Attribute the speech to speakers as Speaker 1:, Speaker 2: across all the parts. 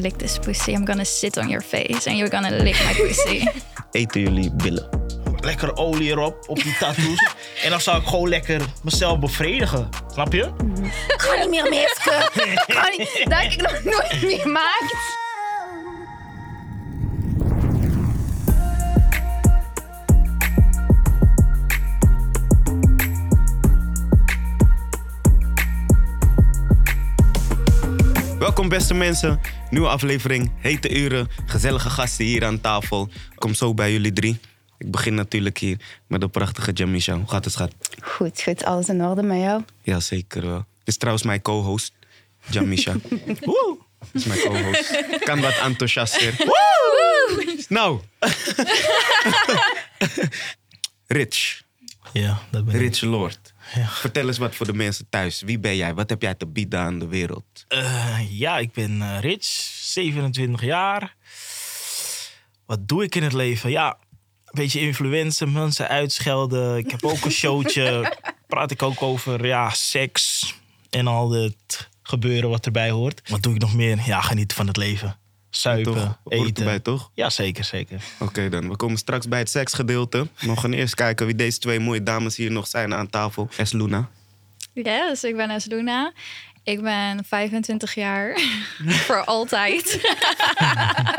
Speaker 1: Lick this pussy, I'm gonna sit on your face and you're gonna lick my pussy. Oh,
Speaker 2: eten jullie billen. Lekker olie erop, op die tattoos. en dan zou ik gewoon lekker mezelf bevredigen. Snap je?
Speaker 3: Kan niet meer meesken. Kan niet. Dat heb ik nog nooit meegemaakt.
Speaker 4: Welkom beste mensen, nieuwe aflevering, hete uren, gezellige gasten hier aan tafel. Kom zo bij jullie drie. Ik begin natuurlijk hier met de prachtige Jamisha. Hoe gaat het, schat?
Speaker 3: Goed, goed. Alles in orde met jou?
Speaker 4: Ja, zeker wel. Dit is trouwens mijn co-host, Jamisha. Woe! Dit is mijn co-host. Kan wat enthousiaster. Woe! Nou. Rich.
Speaker 2: Ja, dat ben
Speaker 4: Rich Lord. Vertel eens wat voor de mensen thuis. Wie ben jij? Wat heb jij te bieden aan de wereld?
Speaker 2: ja, ik ben eh, Rich, 27 jaar. Wat doe ik in het leven? Ja, een beetje influencer, mensen uitschelden. Ik heb ook een showtje. Praat ik ook over ja, seks en al het gebeuren wat erbij hoort. Wat doe ik nog meer? Ja, genieten van het leven. Suipen,
Speaker 4: Toch? Hoort
Speaker 2: eten.
Speaker 4: erbij, toch?
Speaker 2: Ja, zeker, zeker.
Speaker 4: Oké dan, we komen straks bij het seksgedeelte. We gaan eerst kijken wie deze twee mooie dames hier nog zijn aan tafel. Es Luna.
Speaker 1: Yes, ik ben Asluna. Ik ben 25 jaar. Voor altijd.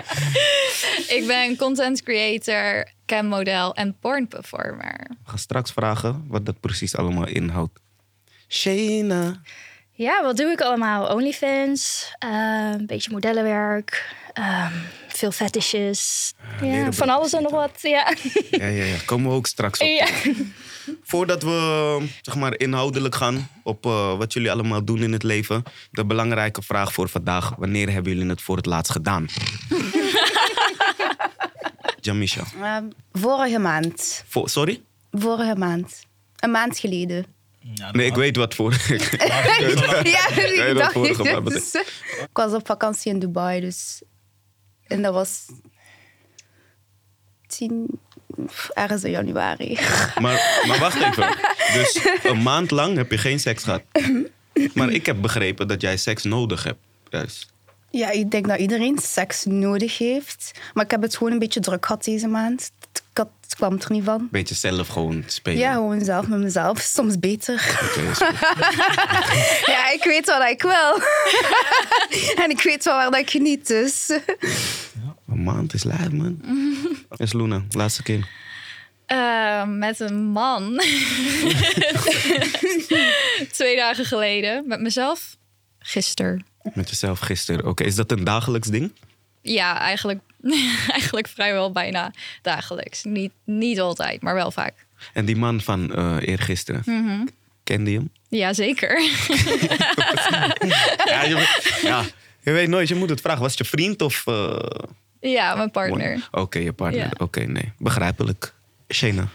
Speaker 1: ik ben content creator, cammodel en porn performer.
Speaker 4: We gaan straks vragen wat dat precies allemaal inhoudt. Shayna.
Speaker 5: Ja, wat doe ik allemaal? Onlyfans, eh, een beetje modellenwerk, ehm, veel fetishes. Ja,
Speaker 4: leren
Speaker 5: van alles en nog wat. Ja.
Speaker 4: Ja, ja, ja. Komen we ook straks op.
Speaker 5: ja.
Speaker 4: Voordat we zeg maar, inhoudelijk gaan op eh, wat jullie allemaal doen in het leven. De belangrijke vraag voor vandaag. Wanneer hebben jullie het voor het laatst gedaan? Jamisha.
Speaker 3: Ehm, vorige maand.
Speaker 4: Voor- sorry?
Speaker 3: Vorige maand. Een maand geleden.
Speaker 4: Nee, ik weet wat voor.
Speaker 3: ja,
Speaker 4: Ja,
Speaker 3: ik
Speaker 4: dat
Speaker 3: dacht
Speaker 4: vorige maand
Speaker 3: het dus. Ik was op vakantie in Dubai, dus... En dat was... 10... Ergens in januari.
Speaker 4: Maar, maar wacht even. Dus een maand lang heb je geen seks gehad. Maar ik heb begrepen dat jij seks nodig hebt. dus Juist.
Speaker 3: Ja, ik denk dat iedereen seks nodig heeft. Maar ik heb het gewoon een beetje druk gehad deze maand. Ik, had- ik kwam er niet van.
Speaker 4: Beetje zelf gewoon spelen.
Speaker 3: Ja, gewoon zelf met mezelf. Soms beter.
Speaker 4: Oké, is goed.
Speaker 3: Ja, ik weet wat ik wil. en ik weet wel waar dat ik geniet, dus...
Speaker 4: een maand is laat, man. Is Luna, laatste keer.
Speaker 1: Eh, met een man. Twee dagen geleden. Met mezelf. Gisteren.
Speaker 4: Met jezelf gisteren. Oké, is dat een dagelijks ding?
Speaker 1: Ja, eigenlijk, eigenlijk vrijwel bijna dagelijks. Niet, niet altijd, maar wel vaak.
Speaker 4: En die man van eh eergisteren,
Speaker 1: Mhm.
Speaker 4: kende je hem?
Speaker 1: Jazeker.
Speaker 4: Ja, je, ja. je weet nooit, je moet het vragen. Was het je vriend of... eh,
Speaker 1: Ja, mijn partner.
Speaker 4: Oké, je partner.
Speaker 1: Ja.
Speaker 4: Oké, nee. Begrijpelijk. Shena,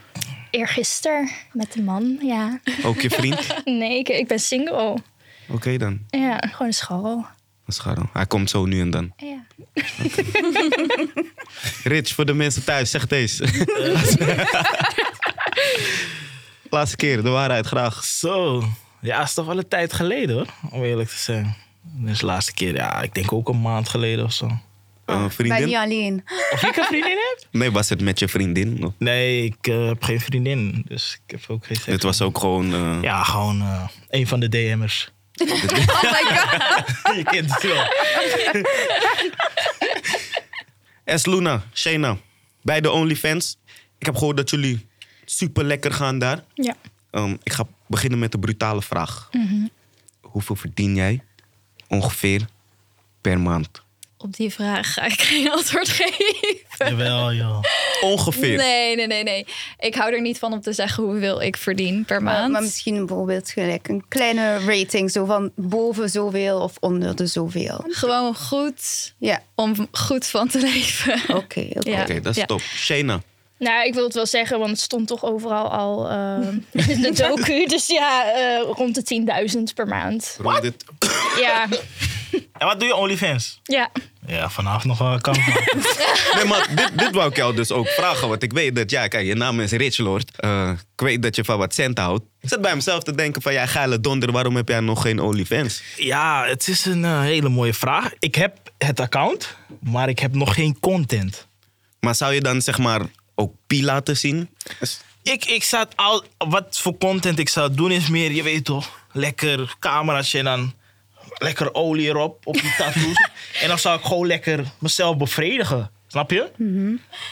Speaker 5: Eergisteren met een man, ja.
Speaker 4: ook je vriend?
Speaker 5: Nee, ik, ik ben single.
Speaker 4: Oké dan.
Speaker 5: Ja, gewoon een scharrel.
Speaker 4: Dat is scharrel. Hij komt zo nu en dan.
Speaker 5: Ja.
Speaker 4: Rich, voor de mensen thuis, zeg deze. Laatste keer, de waarheid graag.
Speaker 2: Zo. Ja, is toch wel een tijd geleden hoor, om eerlijk te zijn. Dat is de laatste keer, ja, ik denk ook een maand geleden of zo.
Speaker 1: Ah.
Speaker 4: Eh,
Speaker 3: Ik ben
Speaker 4: vriendin?
Speaker 3: niet alleen.
Speaker 2: Of ik een vriendin heb?
Speaker 4: Nee, was het met je vriendin? Of-
Speaker 2: Nee, ik eh, heb geen vriendin, dus ik heb ook geen seks.
Speaker 4: Het was ook gewoon... eh,
Speaker 2: Ja, gewoon eh, een van de DM'ers.
Speaker 3: Oh my god.
Speaker 2: Je kent het wel.
Speaker 4: S. Luna, Shayna, bij de OnlyFans. Ik heb gehoord dat jullie super lekker gaan daar.
Speaker 5: ja.
Speaker 4: Ehm, ik ga beginnen met de brutale vraag.
Speaker 1: Mhm.
Speaker 4: Hoeveel verdien jij ongeveer per maand?
Speaker 1: Op die vraag ga ik geen antwoord geven.
Speaker 2: Jawel, joh.
Speaker 4: Ongeveer.
Speaker 1: Nee, nee, nee, nee. Ik hou er niet van om te zeggen hoeveel ik verdien per maand.
Speaker 3: Maar misschien bijvoorbeeld gelijk een kleine rating. Zo van boven zoveel of onder de zoveel.
Speaker 1: Gewoon goed
Speaker 3: Ja,
Speaker 1: om goed van te leven.
Speaker 3: oké. oké.
Speaker 1: Ja.
Speaker 4: Oké, dat is
Speaker 1: Ja.
Speaker 4: top. Shayna,
Speaker 5: Nou, ik wil het wel zeggen, want het stond toch overal al eh, in de docu. Dus ja, eh, rond de 10.000 per maand.
Speaker 4: rond dit...
Speaker 5: Ja,
Speaker 2: En wat doe je OnlyFans?
Speaker 5: Ja.
Speaker 2: Ja, vanaf nog wel kan. maar-
Speaker 4: Nee, maar dit, dit wou ik jou dus ook vragen. Want ik weet dat, ja, kijk, je naam is Rich Lord. Eh, ik weet dat je van wat cent houdt. Ik zat bij mezelf te denken van, ja, geile donder, waarom heb jij nog geen OnlyFans?
Speaker 2: ja, het is een eh, hele mooie vraag. Ik heb het account, maar ik heb nog geen content.
Speaker 4: Maar zou je dan, zeg maar, ook Pi laten zien? Dus-
Speaker 2: Ik, ik zat al, wat voor content ik zou doen is meer, je weet toch, lekker cameraatje en dan lekker olie erop op die tattoos. en dan zou ik gewoon lekker mezelf bevredigen, snap je?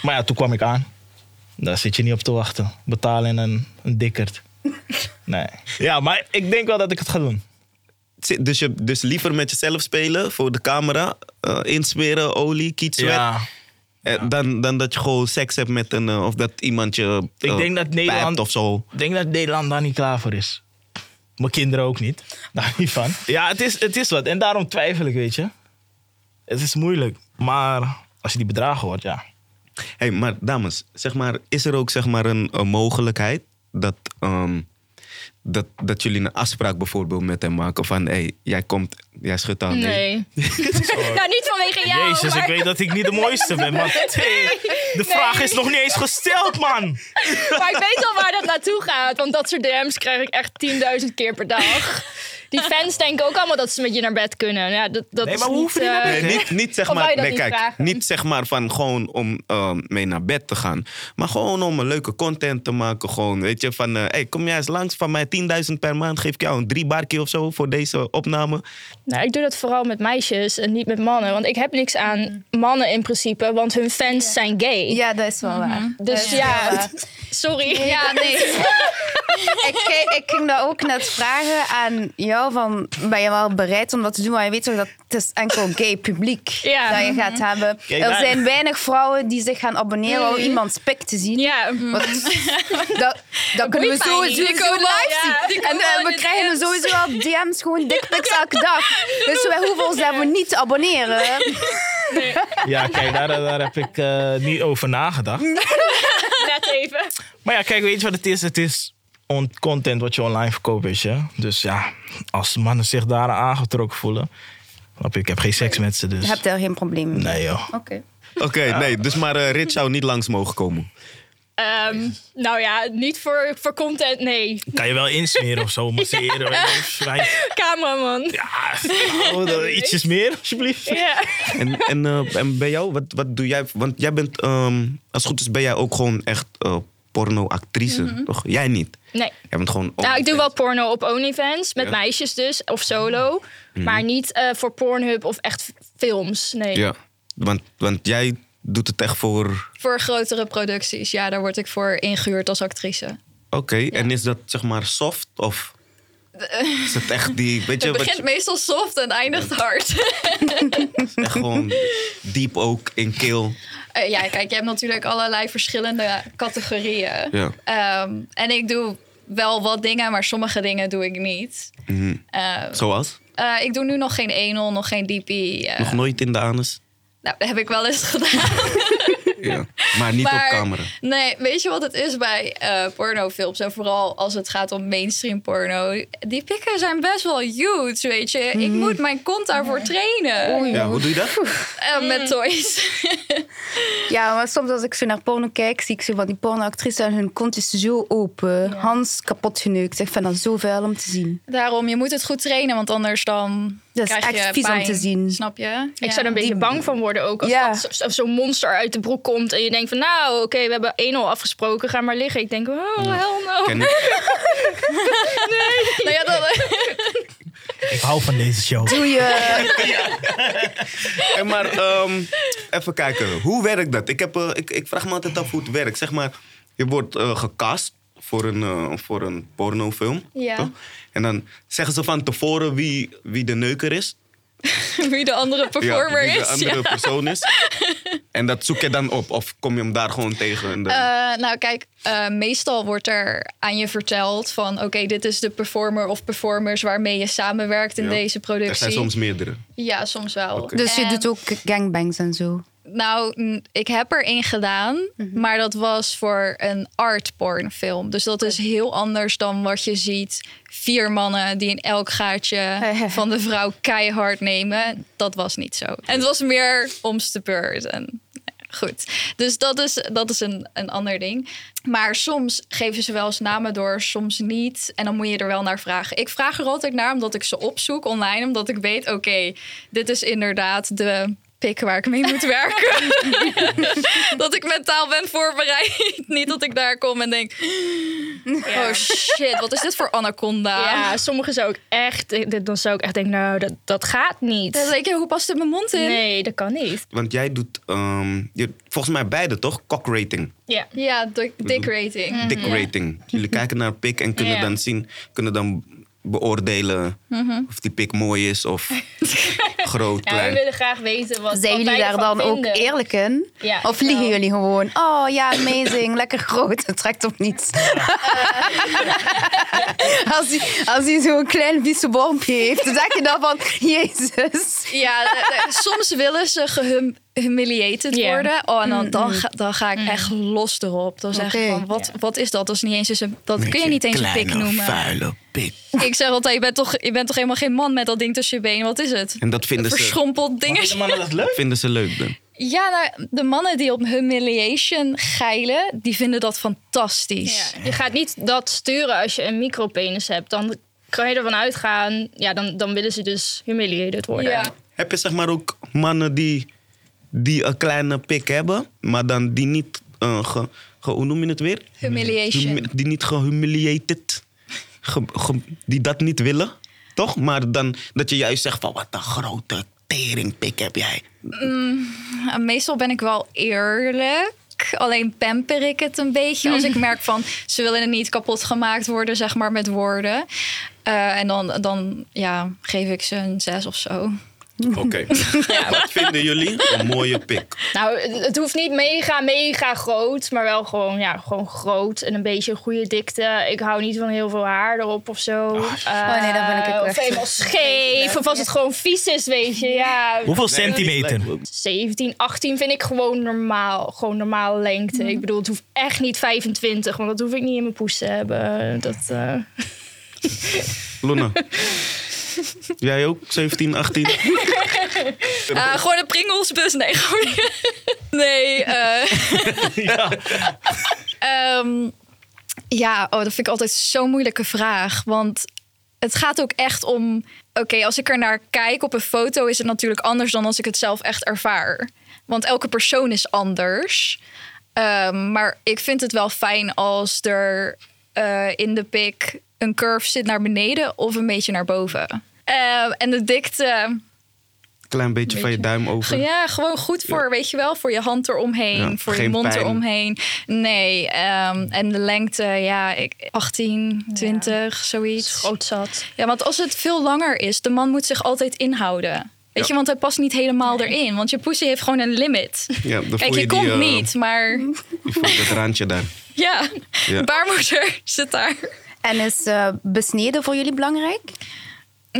Speaker 2: Maar ja, toen kwam ik aan. Daar zit je niet op te wachten. Betalen en een, een dikkerd. Nee. Ja, maar ik denk wel dat ik het ga doen.
Speaker 4: Zit- Dus, je, dus liever met jezelf spelen voor de camera, eh, insmeren, olie, kietswet. Eh, dan, dan dat je gewoon seks hebt met een. eh, of dat iemand je.
Speaker 2: Ik
Speaker 4: eh,
Speaker 2: denk dat
Speaker 4: pijpt
Speaker 2: Nederland-
Speaker 4: of zo.
Speaker 2: Ik denk dat Nederland daar niet klaar voor is. Mijn kinderen ook niet. Daar niet van. Ja, het is, het is wat. En daarom twijfel ik, weet je. Het is moeilijk. Maar als je die bedragen hoort, ja.
Speaker 4: Hey, maar dames, zeg maar, is er ook zeg maar, een, een mogelijkheid dat, ehm, dat, dat jullie een afspraak bijvoorbeeld met hem maken? Van hey, jij komt, jij schudt aan.
Speaker 5: Nee. nou, niet vanwege jou.
Speaker 2: Jezus,
Speaker 5: maar...
Speaker 2: ik weet dat ik niet de mooiste ben. Maar Hey, de vraag is nog niet eens gesteld, man.
Speaker 6: Maar ik weet al waar dat naartoe gaat. Want dat soort DM's krijg ik echt 10.000 keer per dag. Die fans denken ook allemaal dat ze met je naar bed kunnen. Ja, dat, dat
Speaker 2: Nee,
Speaker 6: is
Speaker 2: maar we
Speaker 6: niet,
Speaker 2: hoeven niet naar
Speaker 6: eh,
Speaker 4: Nee, niet, niet zeg
Speaker 6: Of wou
Speaker 4: maar,
Speaker 6: je dat
Speaker 4: nee,
Speaker 6: niet
Speaker 4: kijk,
Speaker 6: vragen?
Speaker 4: niet zeg maar van gewoon om ehm, mee naar bed te gaan. Maar gewoon om een leuke content te maken. Gewoon, weet je, van eh, hey, kom jij eens langs van mij 10.000 per maand. Geef ik jou een drie barkie of zo voor deze opname.
Speaker 6: Nou, ik doe dat vooral met meisjes en niet met mannen. Want ik heb niks aan mannen in principe, want hun fans zijn gay.
Speaker 3: Ja, dat is wel waar. Dat
Speaker 6: Dus
Speaker 3: is
Speaker 6: ja,
Speaker 3: wel waar.
Speaker 6: sorry.
Speaker 3: Ja, nee. ik, ging- ik ging daar ook net vragen aan jou: van, ben je wel bereid om dat te doen? Maar je weet toch dat het is enkel gay publiek
Speaker 6: Ja. Mhm.
Speaker 3: dat je gaat hebben.
Speaker 2: Kijk,
Speaker 3: er
Speaker 2: daar-
Speaker 3: zijn weinig vrouwen die zich gaan abonneren om iemands pik te zien.
Speaker 6: Ja,
Speaker 3: Want dat, dat kunnen we
Speaker 6: boeit mij
Speaker 3: sowieso,
Speaker 6: niet. Die
Speaker 3: sowieso
Speaker 6: komen-
Speaker 3: live zien.
Speaker 6: ja, die
Speaker 3: en
Speaker 6: komen
Speaker 3: eh,
Speaker 6: wel
Speaker 3: we
Speaker 6: in de
Speaker 3: krijgen er
Speaker 6: DM's.
Speaker 3: sowieso al DM's, gewoon dikpiks elke dag. Dus wij hoeven ons daarvoor niet te abonneren.
Speaker 2: Ja, kijk, daar, daar heb ik eh, niet over nagedacht.
Speaker 6: net even.
Speaker 2: Maar ja, kijk, weet je wat het is? Het is on- content wat je online verkoopt, weet je. Dus ja, als mannen zich daar aangetrokken voelen... Snap je, ik heb geen seks met ze,
Speaker 3: Je
Speaker 2: dus...
Speaker 3: hebt daar geen probleem mee.
Speaker 2: Nee, joh.
Speaker 3: Oké.
Speaker 4: Oké, nee, dus maar eh Rich zou niet langs mogen komen.
Speaker 6: Ehm, nou ja, niet voor, voor content, nee.
Speaker 2: Kan je wel insmeren of zo, masseren. weet
Speaker 6: Cameraman.
Speaker 2: Ja, ietsjes meer, alsjeblieft.
Speaker 6: Ja.
Speaker 4: En, en, eh, en bij jou, wat, wat doe jij? Want jij bent, ehm, als het goed is, ben jij ook gewoon echt eh, pornoactrice, toch? Jij niet.
Speaker 6: Nee.
Speaker 4: Jij bent gewoon.
Speaker 6: Nou, ik doe wel
Speaker 4: OnlyFans.
Speaker 6: porno op OnlyFans, met
Speaker 4: Ja. Mhm.
Speaker 6: meisjes dus, of solo. Maar niet eh, voor Pornhub of echt films, nee.
Speaker 4: Ja, want, want jij doet het echt voor.
Speaker 1: Voor grotere producties, ja, daar word ik voor ingehuurd als actrice.
Speaker 4: Oké, en is dat zeg maar soft of. Is het echt die. Weet je,
Speaker 1: Het
Speaker 4: wat
Speaker 1: begint
Speaker 4: je-
Speaker 1: meestal soft en eindigt hard.
Speaker 4: echt gewoon diep ook in keel.
Speaker 1: Eh, ja, kijk, je hebt natuurlijk allerlei verschillende categorieën.
Speaker 4: Ja.
Speaker 1: Ehm, en ik doe wel wat dingen, maar sommige dingen doe ik niet. Eh,
Speaker 4: Zoals?
Speaker 1: eh, ik doe nu nog geen enel, nog geen DP. eh,
Speaker 4: Nog nooit in de anus.
Speaker 1: nou, dat heb ik wel eens gedaan.
Speaker 4: Ja. Maar niet op camera.
Speaker 1: Nee, weet je wat het is bij eh, pornofilms? En vooral als het gaat om mainstream porno. Die pikken zijn best wel huge, weet je. Ik
Speaker 4: Hmm.
Speaker 1: moet mijn kont daarvoor trainen.
Speaker 4: Ja, hoe doe je dat?
Speaker 1: Eh,
Speaker 3: Hmm.
Speaker 1: met toys.
Speaker 3: Ja, maar soms als ik zo naar porno kijk, zie ik zo van die pornoactrices en hun kont is zo open. Hans kapot geneukt. Ik vind dat zo vuil om te zien.
Speaker 1: Daarom, je moet het goed trainen, want anders dan
Speaker 3: Dat is
Speaker 1: krijg je
Speaker 3: echt vies om
Speaker 1: pijn.
Speaker 3: te zien.
Speaker 1: Snap je?
Speaker 6: Ik zou er een beetje bang van worden ook. Als
Speaker 3: Ja.
Speaker 6: dat zo- zo- zo'n monster uit de broek komt en je denkt van... nou, oké, we hebben 1-0 afgesproken, ga maar liggen. Ik denk, oh, hell no.
Speaker 4: Ken ik.
Speaker 1: Nou ja, dat,
Speaker 2: Ik hou van deze show.
Speaker 3: Doe je.
Speaker 4: Hey, maar ehm, even kijken, hoe werkt dat? Ik, heb, eh, ik, ik vraag me altijd af hoe het werkt. Zeg maar, je wordt eh, gecast voor een, eh, voor een pornofilm.
Speaker 1: Ja.
Speaker 4: Toch? En dan zeggen ze van tevoren wie, wie de neuker is.
Speaker 1: wie de andere performer
Speaker 4: wie de
Speaker 1: is.
Speaker 4: andere
Speaker 1: ja.
Speaker 4: persoon is. En dat zoek je dan op. Of kom je hem daar gewoon tegen? En dan-
Speaker 1: Eh, nou, kijk, eh, meestal wordt er aan je verteld van... oké, dit is de performer of performers waarmee je samenwerkt in
Speaker 4: Ja.
Speaker 1: deze productie.
Speaker 4: Er zijn soms meerdere.
Speaker 1: Ja, soms wel.
Speaker 4: Oké.
Speaker 3: Dus je
Speaker 1: En-
Speaker 3: doet ook gangbangs en zo.
Speaker 1: Nou, n- ik heb er één gedaan,
Speaker 3: Mhm.
Speaker 1: maar dat was voor een art porn film. Dus dat is heel anders dan wat je ziet. Vier mannen die in elk gaatje van de vrouw keihard nemen. Dat was niet zo. En het was meer om te beurten. Goed, dus dat is, dat is een, een ander ding. Maar soms geven ze wel eens namen door, soms niet. En dan moet je er wel naar vragen. Ik vraag er altijd naar omdat ik ze opzoek online. Omdat ik weet, oké, dit is inderdaad de pik waar ik mee moet werken. dat ik mentaal ben voorbereid. niet dat ik daar kom en denk... Oh shit, wat is dit voor anaconda?
Speaker 6: Ja, sommigen zou ik echt, dit- dan zou ik echt denken, nou, dat, dat gaat
Speaker 1: Dan
Speaker 6: niet.
Speaker 1: denk ik, hoe past dit mijn mond in?
Speaker 6: Nee, dat kan niet.
Speaker 4: Want jij doet, ehm, je, volgens mij beide toch? Cock rating,
Speaker 6: Ja.
Speaker 1: Ja, dik- dick rating.
Speaker 4: dick rating. Jullie kijken naar pik en kunnen
Speaker 6: Ja.
Speaker 4: dan zien, kunnen dan beoordelen
Speaker 1: Mhm.
Speaker 4: of die pik mooi is of groot,
Speaker 6: Ja, we
Speaker 4: klein.
Speaker 6: willen graag weten wat
Speaker 3: Zijn
Speaker 6: wat
Speaker 3: jullie
Speaker 6: wij
Speaker 3: daar
Speaker 6: ervan
Speaker 3: dan ook
Speaker 6: vinden.
Speaker 3: eerlijk in?
Speaker 6: Ja,
Speaker 3: of liegen
Speaker 6: wel.
Speaker 3: jullie gewoon? Oh ja, amazing, lekker groot. Het trekt op niets. als, hij, als hij zo'n klein vieze wormpje heeft, dan denk je dan van... Jezus.
Speaker 1: Ja, de- de- soms willen ze gehumiliated
Speaker 6: Ja.
Speaker 1: worden. Oh, en dan, dan, ga, dan ga ik echt los erop. Dan zeg
Speaker 3: Oké.
Speaker 1: ik van, wat, wat is dat? Dat, is niet eens eens een, dat kun je niet eens een pik
Speaker 2: Kleine,
Speaker 1: noemen.
Speaker 2: vuile pik.
Speaker 1: Ik zeg altijd, je bent, toch, je bent toch helemaal geen man met dat ding tussen je benen? Wat is het?
Speaker 4: En dat vinden ze-
Speaker 1: Verschrompeld dingetje.
Speaker 2: Vinden mannen dat leuk?
Speaker 4: Vinden ze leuk dan?
Speaker 1: Ja, nou, de mannen die op humiliation geilen, die vinden dat fantastisch.
Speaker 6: Ja. Je gaat niet dat sturen als je een micropenis hebt. Dan kan je ervan uitgaan, ja, dan, dan willen ze dus humiliated worden.
Speaker 1: Ja.
Speaker 4: Heb je zeg maar ook mannen die, die een kleine pik hebben, maar dan die niet, eh, ge, ge- hoe noem je het weer?
Speaker 1: Humiliation.
Speaker 4: Humi- die niet gehumiliated, ge- ge- die dat niet willen, toch? Maar dan dat je juist zegt van wat een grote teringpik heb jij.
Speaker 1: Nou, meestal ben ik wel eerlijk. Alleen pamper ik het een beetje. Als ik merk van ze willen het niet kapot gemaakt worden, zeg maar met woorden. Eh, en dan, dan ja, geef ik ze een zes of zo.
Speaker 4: Oké. Wat vinden jullie een mooie pik?
Speaker 6: Nou, het, het hoeft niet mega, mega groot, maar wel gewoon, ja, gewoon groot en een beetje een goede dikte. Ik hou niet van heel veel haar erop of zo.
Speaker 3: Oh, nee, dat vind ik ook
Speaker 6: Eh, Of
Speaker 3: echt-
Speaker 6: helemaal scheef, of als het gewoon vies is, weet je. Ja,
Speaker 2: Hoeveel centimeter?
Speaker 6: 17, 18 vind ik gewoon normaal. Gewoon normale lengte. Ik bedoel, het hoeft echt niet 25, want dat hoef ik niet in mijn poes te hebben. Dat, eh,
Speaker 4: Luna. Jij ook, 17, 18?
Speaker 1: Eh, gewoon een Pringelsbus. Nee, gewoon... Nee. eh, Ehm, ja, oh, dat vind ik altijd zo'n moeilijke vraag. Want het gaat ook echt om... Oké, als ik er naar kijk op een foto... is het natuurlijk anders dan als ik het zelf echt ervaar. Want elke persoon is anders. Ehm, maar ik vind het wel fijn als er eh, in de pik... een curve zit naar beneden of een beetje naar boven. Ehm, en de dikte...
Speaker 4: Klein beetje van je duim over.
Speaker 1: Ja, gewoon goed voor, weet je wel, voor je hand eromheen,
Speaker 4: Ja,
Speaker 1: voor je
Speaker 4: geen
Speaker 1: mond
Speaker 4: pijn.
Speaker 1: eromheen. Nee, ehm, en de lengte, ja, ik, 18, 20, zoiets.
Speaker 6: groot zat.
Speaker 1: Ja, want als het veel langer is, de man moet zich altijd inhouden. Weet je, want hij past niet helemaal erin. Want je pussy heeft gewoon een limit.
Speaker 4: Ja, dan
Speaker 1: Kijk,
Speaker 4: voel
Speaker 1: je,
Speaker 4: je die,
Speaker 1: komt
Speaker 4: eh,
Speaker 1: niet, maar
Speaker 4: Je voelt het randje daar.
Speaker 1: ja,
Speaker 4: Ja.
Speaker 1: baarmoeder zit daar.
Speaker 3: En is eh, besneden voor jullie belangrijk?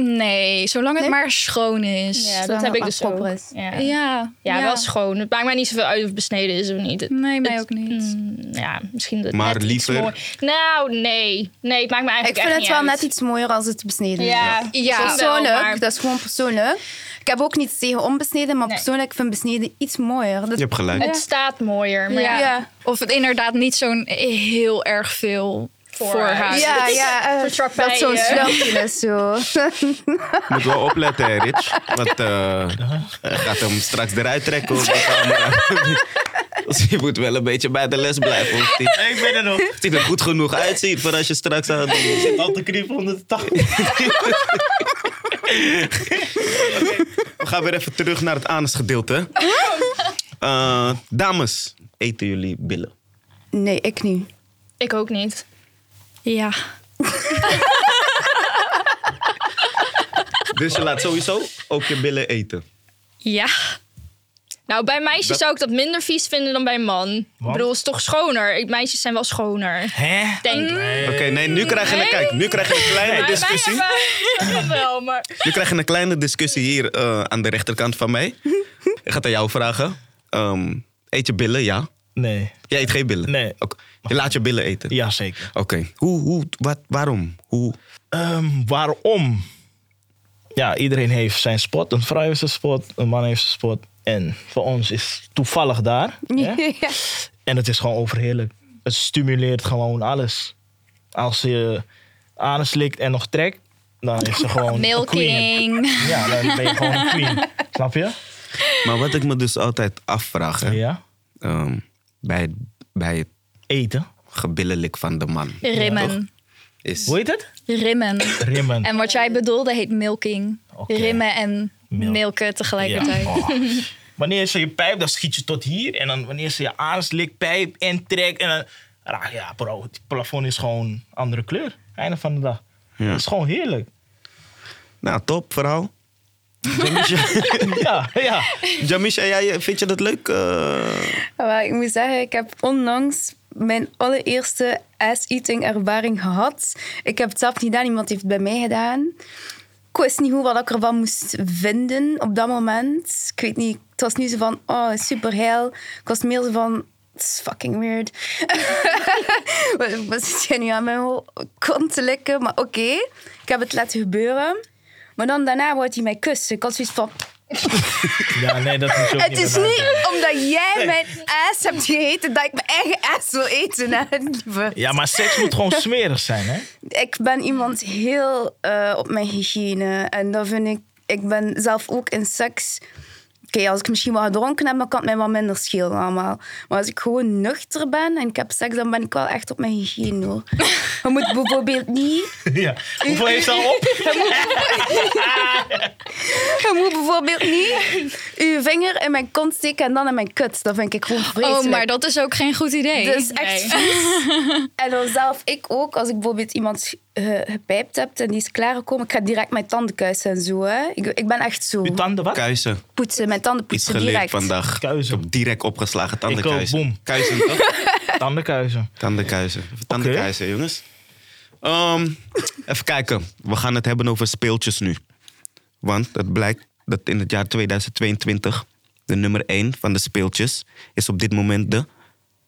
Speaker 1: Nee, zolang het
Speaker 3: Nee?
Speaker 1: maar schoon is.
Speaker 6: Ja,
Speaker 1: Ja,
Speaker 6: dat
Speaker 3: Zolang
Speaker 6: heb
Speaker 3: het
Speaker 6: ik
Speaker 3: maar
Speaker 6: dus ook.
Speaker 3: proper
Speaker 6: Ja.
Speaker 3: is.
Speaker 6: Ja,
Speaker 1: ja,
Speaker 6: wel schoon. Het maakt mij niet zoveel uit of het besneden is of niet. Het-
Speaker 1: Nee, mij
Speaker 6: het-
Speaker 1: ook niet.
Speaker 6: Mm, ja, misschien dat
Speaker 4: Maar
Speaker 6: net iets
Speaker 4: liever-
Speaker 6: mooi- Nou, nee. Nee, het maakt me
Speaker 3: Ik
Speaker 6: eigenlijk
Speaker 3: vind
Speaker 6: echt
Speaker 3: het wel
Speaker 6: niet
Speaker 3: net
Speaker 6: uit.
Speaker 3: iets mooier als het besneden is.
Speaker 6: Ja,
Speaker 1: Ja,
Speaker 6: soms wel,
Speaker 3: persoonlijk,
Speaker 6: maar-
Speaker 3: dat is gewoon persoonlijk. Ik heb ook niets tegen onbesneden, maar
Speaker 6: Nee.
Speaker 3: persoonlijk vind ik besneden iets mooier. Dat-
Speaker 4: Je hebt gelijk.
Speaker 6: Het staat mooier. Maar
Speaker 1: Ja.
Speaker 6: ja.
Speaker 3: Ja.
Speaker 1: Of het inderdaad niet zo'n heel erg veel
Speaker 6: Voorhuid.
Speaker 1: voorhuid.
Speaker 3: ja, ja. eh,
Speaker 6: Voor
Speaker 3: dat zo'n
Speaker 6: trappijen.
Speaker 3: slurpje is zo.
Speaker 4: Je moet wel opletten, hè, Rich. Want eh, hij gaat hem straks eruit trekken op de camera. dus je moet wel een beetje bij de les blijven. Of die,
Speaker 2: Nee, ik ben er nog.
Speaker 4: of die er goed genoeg uitziet voor als je straks aan
Speaker 2: Ik zit al te knippen onder de tafel.
Speaker 4: We gaan weer even terug naar het anusgedeelte. Eh dames, eten jullie billen?
Speaker 3: Nee, ik niet.
Speaker 6: Ik ook niet.
Speaker 1: Ja.
Speaker 4: Dus je laat sowieso ook je billen eten.
Speaker 1: Ja.
Speaker 6: Nou, bij meisjes zou ik dat minder vies vinden dan bij een man. Ik bedoel, het is toch schoner? Ik- Meisjes zijn wel schoner.
Speaker 2: Hè?
Speaker 6: Denk ik.
Speaker 4: Oké, nee, nu krijg je een kijk. Nu krijg je een kleine
Speaker 6: Maar wij
Speaker 4: discussie.
Speaker 6: hebben... Dat wel, maar...
Speaker 4: Nu krijg je een kleine discussie hier eh, aan de rechterkant van mij. Ik ga het aan jou vragen. Eh, ehm, eet je billen, ja?
Speaker 2: Nee.
Speaker 4: Jij eet geen billen?
Speaker 2: Nee.
Speaker 4: Oké. Je laat je billen eten?
Speaker 2: Jazeker.
Speaker 4: Oké. Hoe, hoe, wat, waarom? Hoe?
Speaker 2: Ehm, waarom? Ja, iedereen heeft zijn spot. Een vrouw heeft zijn spot, een man heeft zijn spot. En voor ons is toevallig daar. hè?
Speaker 3: Ja.
Speaker 2: En het is gewoon overheerlijk. Het stimuleert gewoon alles. Als je anus likt en nog trekt, dan is ze gewoon een queen.
Speaker 1: Milking.
Speaker 2: Ja, dan ben je gewoon een queen. Snap je?
Speaker 4: Maar wat ik me dus altijd afvraag, hè,
Speaker 2: Ja.
Speaker 4: ehm, bij, bij het
Speaker 2: Eten.
Speaker 4: gebillenlik van de man,
Speaker 1: Rimmen.
Speaker 4: is...
Speaker 2: Hoe heet het?
Speaker 1: Rimmen.
Speaker 2: Rimmen.
Speaker 1: En wat jij bedoelde heet milking.
Speaker 2: Oké.
Speaker 1: Rimmen en
Speaker 2: Milk.
Speaker 1: milken
Speaker 2: Ja.
Speaker 1: tegelijkertijd.
Speaker 2: Oh. Wanneer ze je pijp, dan schiet je tot hier. En dan wanneer ze je aanslikt, pijp en trekt. En dan, Ah, ja, bro, het plafond is gewoon andere kleur. Einde van de dag.
Speaker 4: Ja.
Speaker 2: Het is gewoon heerlijk.
Speaker 4: Nou, top, verhaal.
Speaker 2: ja, ja.
Speaker 4: Jamisha, jij, vind je dat leuk? eh?
Speaker 3: Maar ik moet zeggen, ik heb onlangs mijn allereerste ass-eating ervaring gehad. Ik heb het zelf niet gedaan, iemand heeft het bij mij gedaan. Ik wist niet hoe wat ik ervan moest vinden op dat moment. Ik weet niet, het was nu zo van, oh, super heil. Ik was meer zo van, it's fucking weird. wat, wat zit jij nu aan mijn ho- kont te likken? Maar oké, ik heb het laten gebeuren. Maar dan daarna wordt hij mij kussen. Ik had zoiets van,
Speaker 2: Ja, nee, dat moet je ook
Speaker 3: het is
Speaker 2: bedenken.
Speaker 3: niet omdat jij mijn ass hebt gegeten dat ik mijn eigen ass wil eten. hè, lieverd.
Speaker 2: Ja, maar seks moet gewoon smerig zijn, hè?
Speaker 3: Ik ben iemand heel eh, op mijn hygiëne. En dat vind ik... Ik ben zelf ook in seks... Oké, als ik misschien wat gedronken heb, dan kan het mij wat minder schelen allemaal. Maar als ik gewoon nuchter ben en ik heb seks, dan ben ik wel echt op mijn hygiëne, hoor. Je moet bijvoorbeeld niet...
Speaker 2: Ja. Hoeveel heeft ze al op?
Speaker 3: Je moet bijvoorbeeld niet uw vinger in mijn kont steken en dan in mijn kut. Dat vind ik gewoon vreselijk. Dus-
Speaker 1: Oh, maar dat is ook geen goed idee.
Speaker 3: Dat is echt vies. En dan zelf, ik ook, als ik bijvoorbeeld iemand eh, gepijpt heb en die is klaargekomen, ik ga direct mijn tanden kuisen en zo. Hè. Ik, ik ben echt zo.
Speaker 2: Je tanden wat?
Speaker 4: Kuisen.
Speaker 3: Poetsen, mijn tanden
Speaker 4: Iets
Speaker 3: poetsen
Speaker 4: geleerd
Speaker 3: direct.
Speaker 4: vandaag.
Speaker 2: Kuizen.
Speaker 4: Ik heb direct opgeslagen.
Speaker 2: Ik ook,
Speaker 4: Tandenkuizen.
Speaker 2: boem.
Speaker 4: Kuizen, toch?
Speaker 2: Tandenkuizen.
Speaker 4: Tandenkuizen. Even Tandenkuizen, jongens. Ehm, even kijken. We gaan het hebben over speeltjes nu. Want het blijkt dat in het jaar 2022 de nummer 1 van de speeltjes is op dit moment de.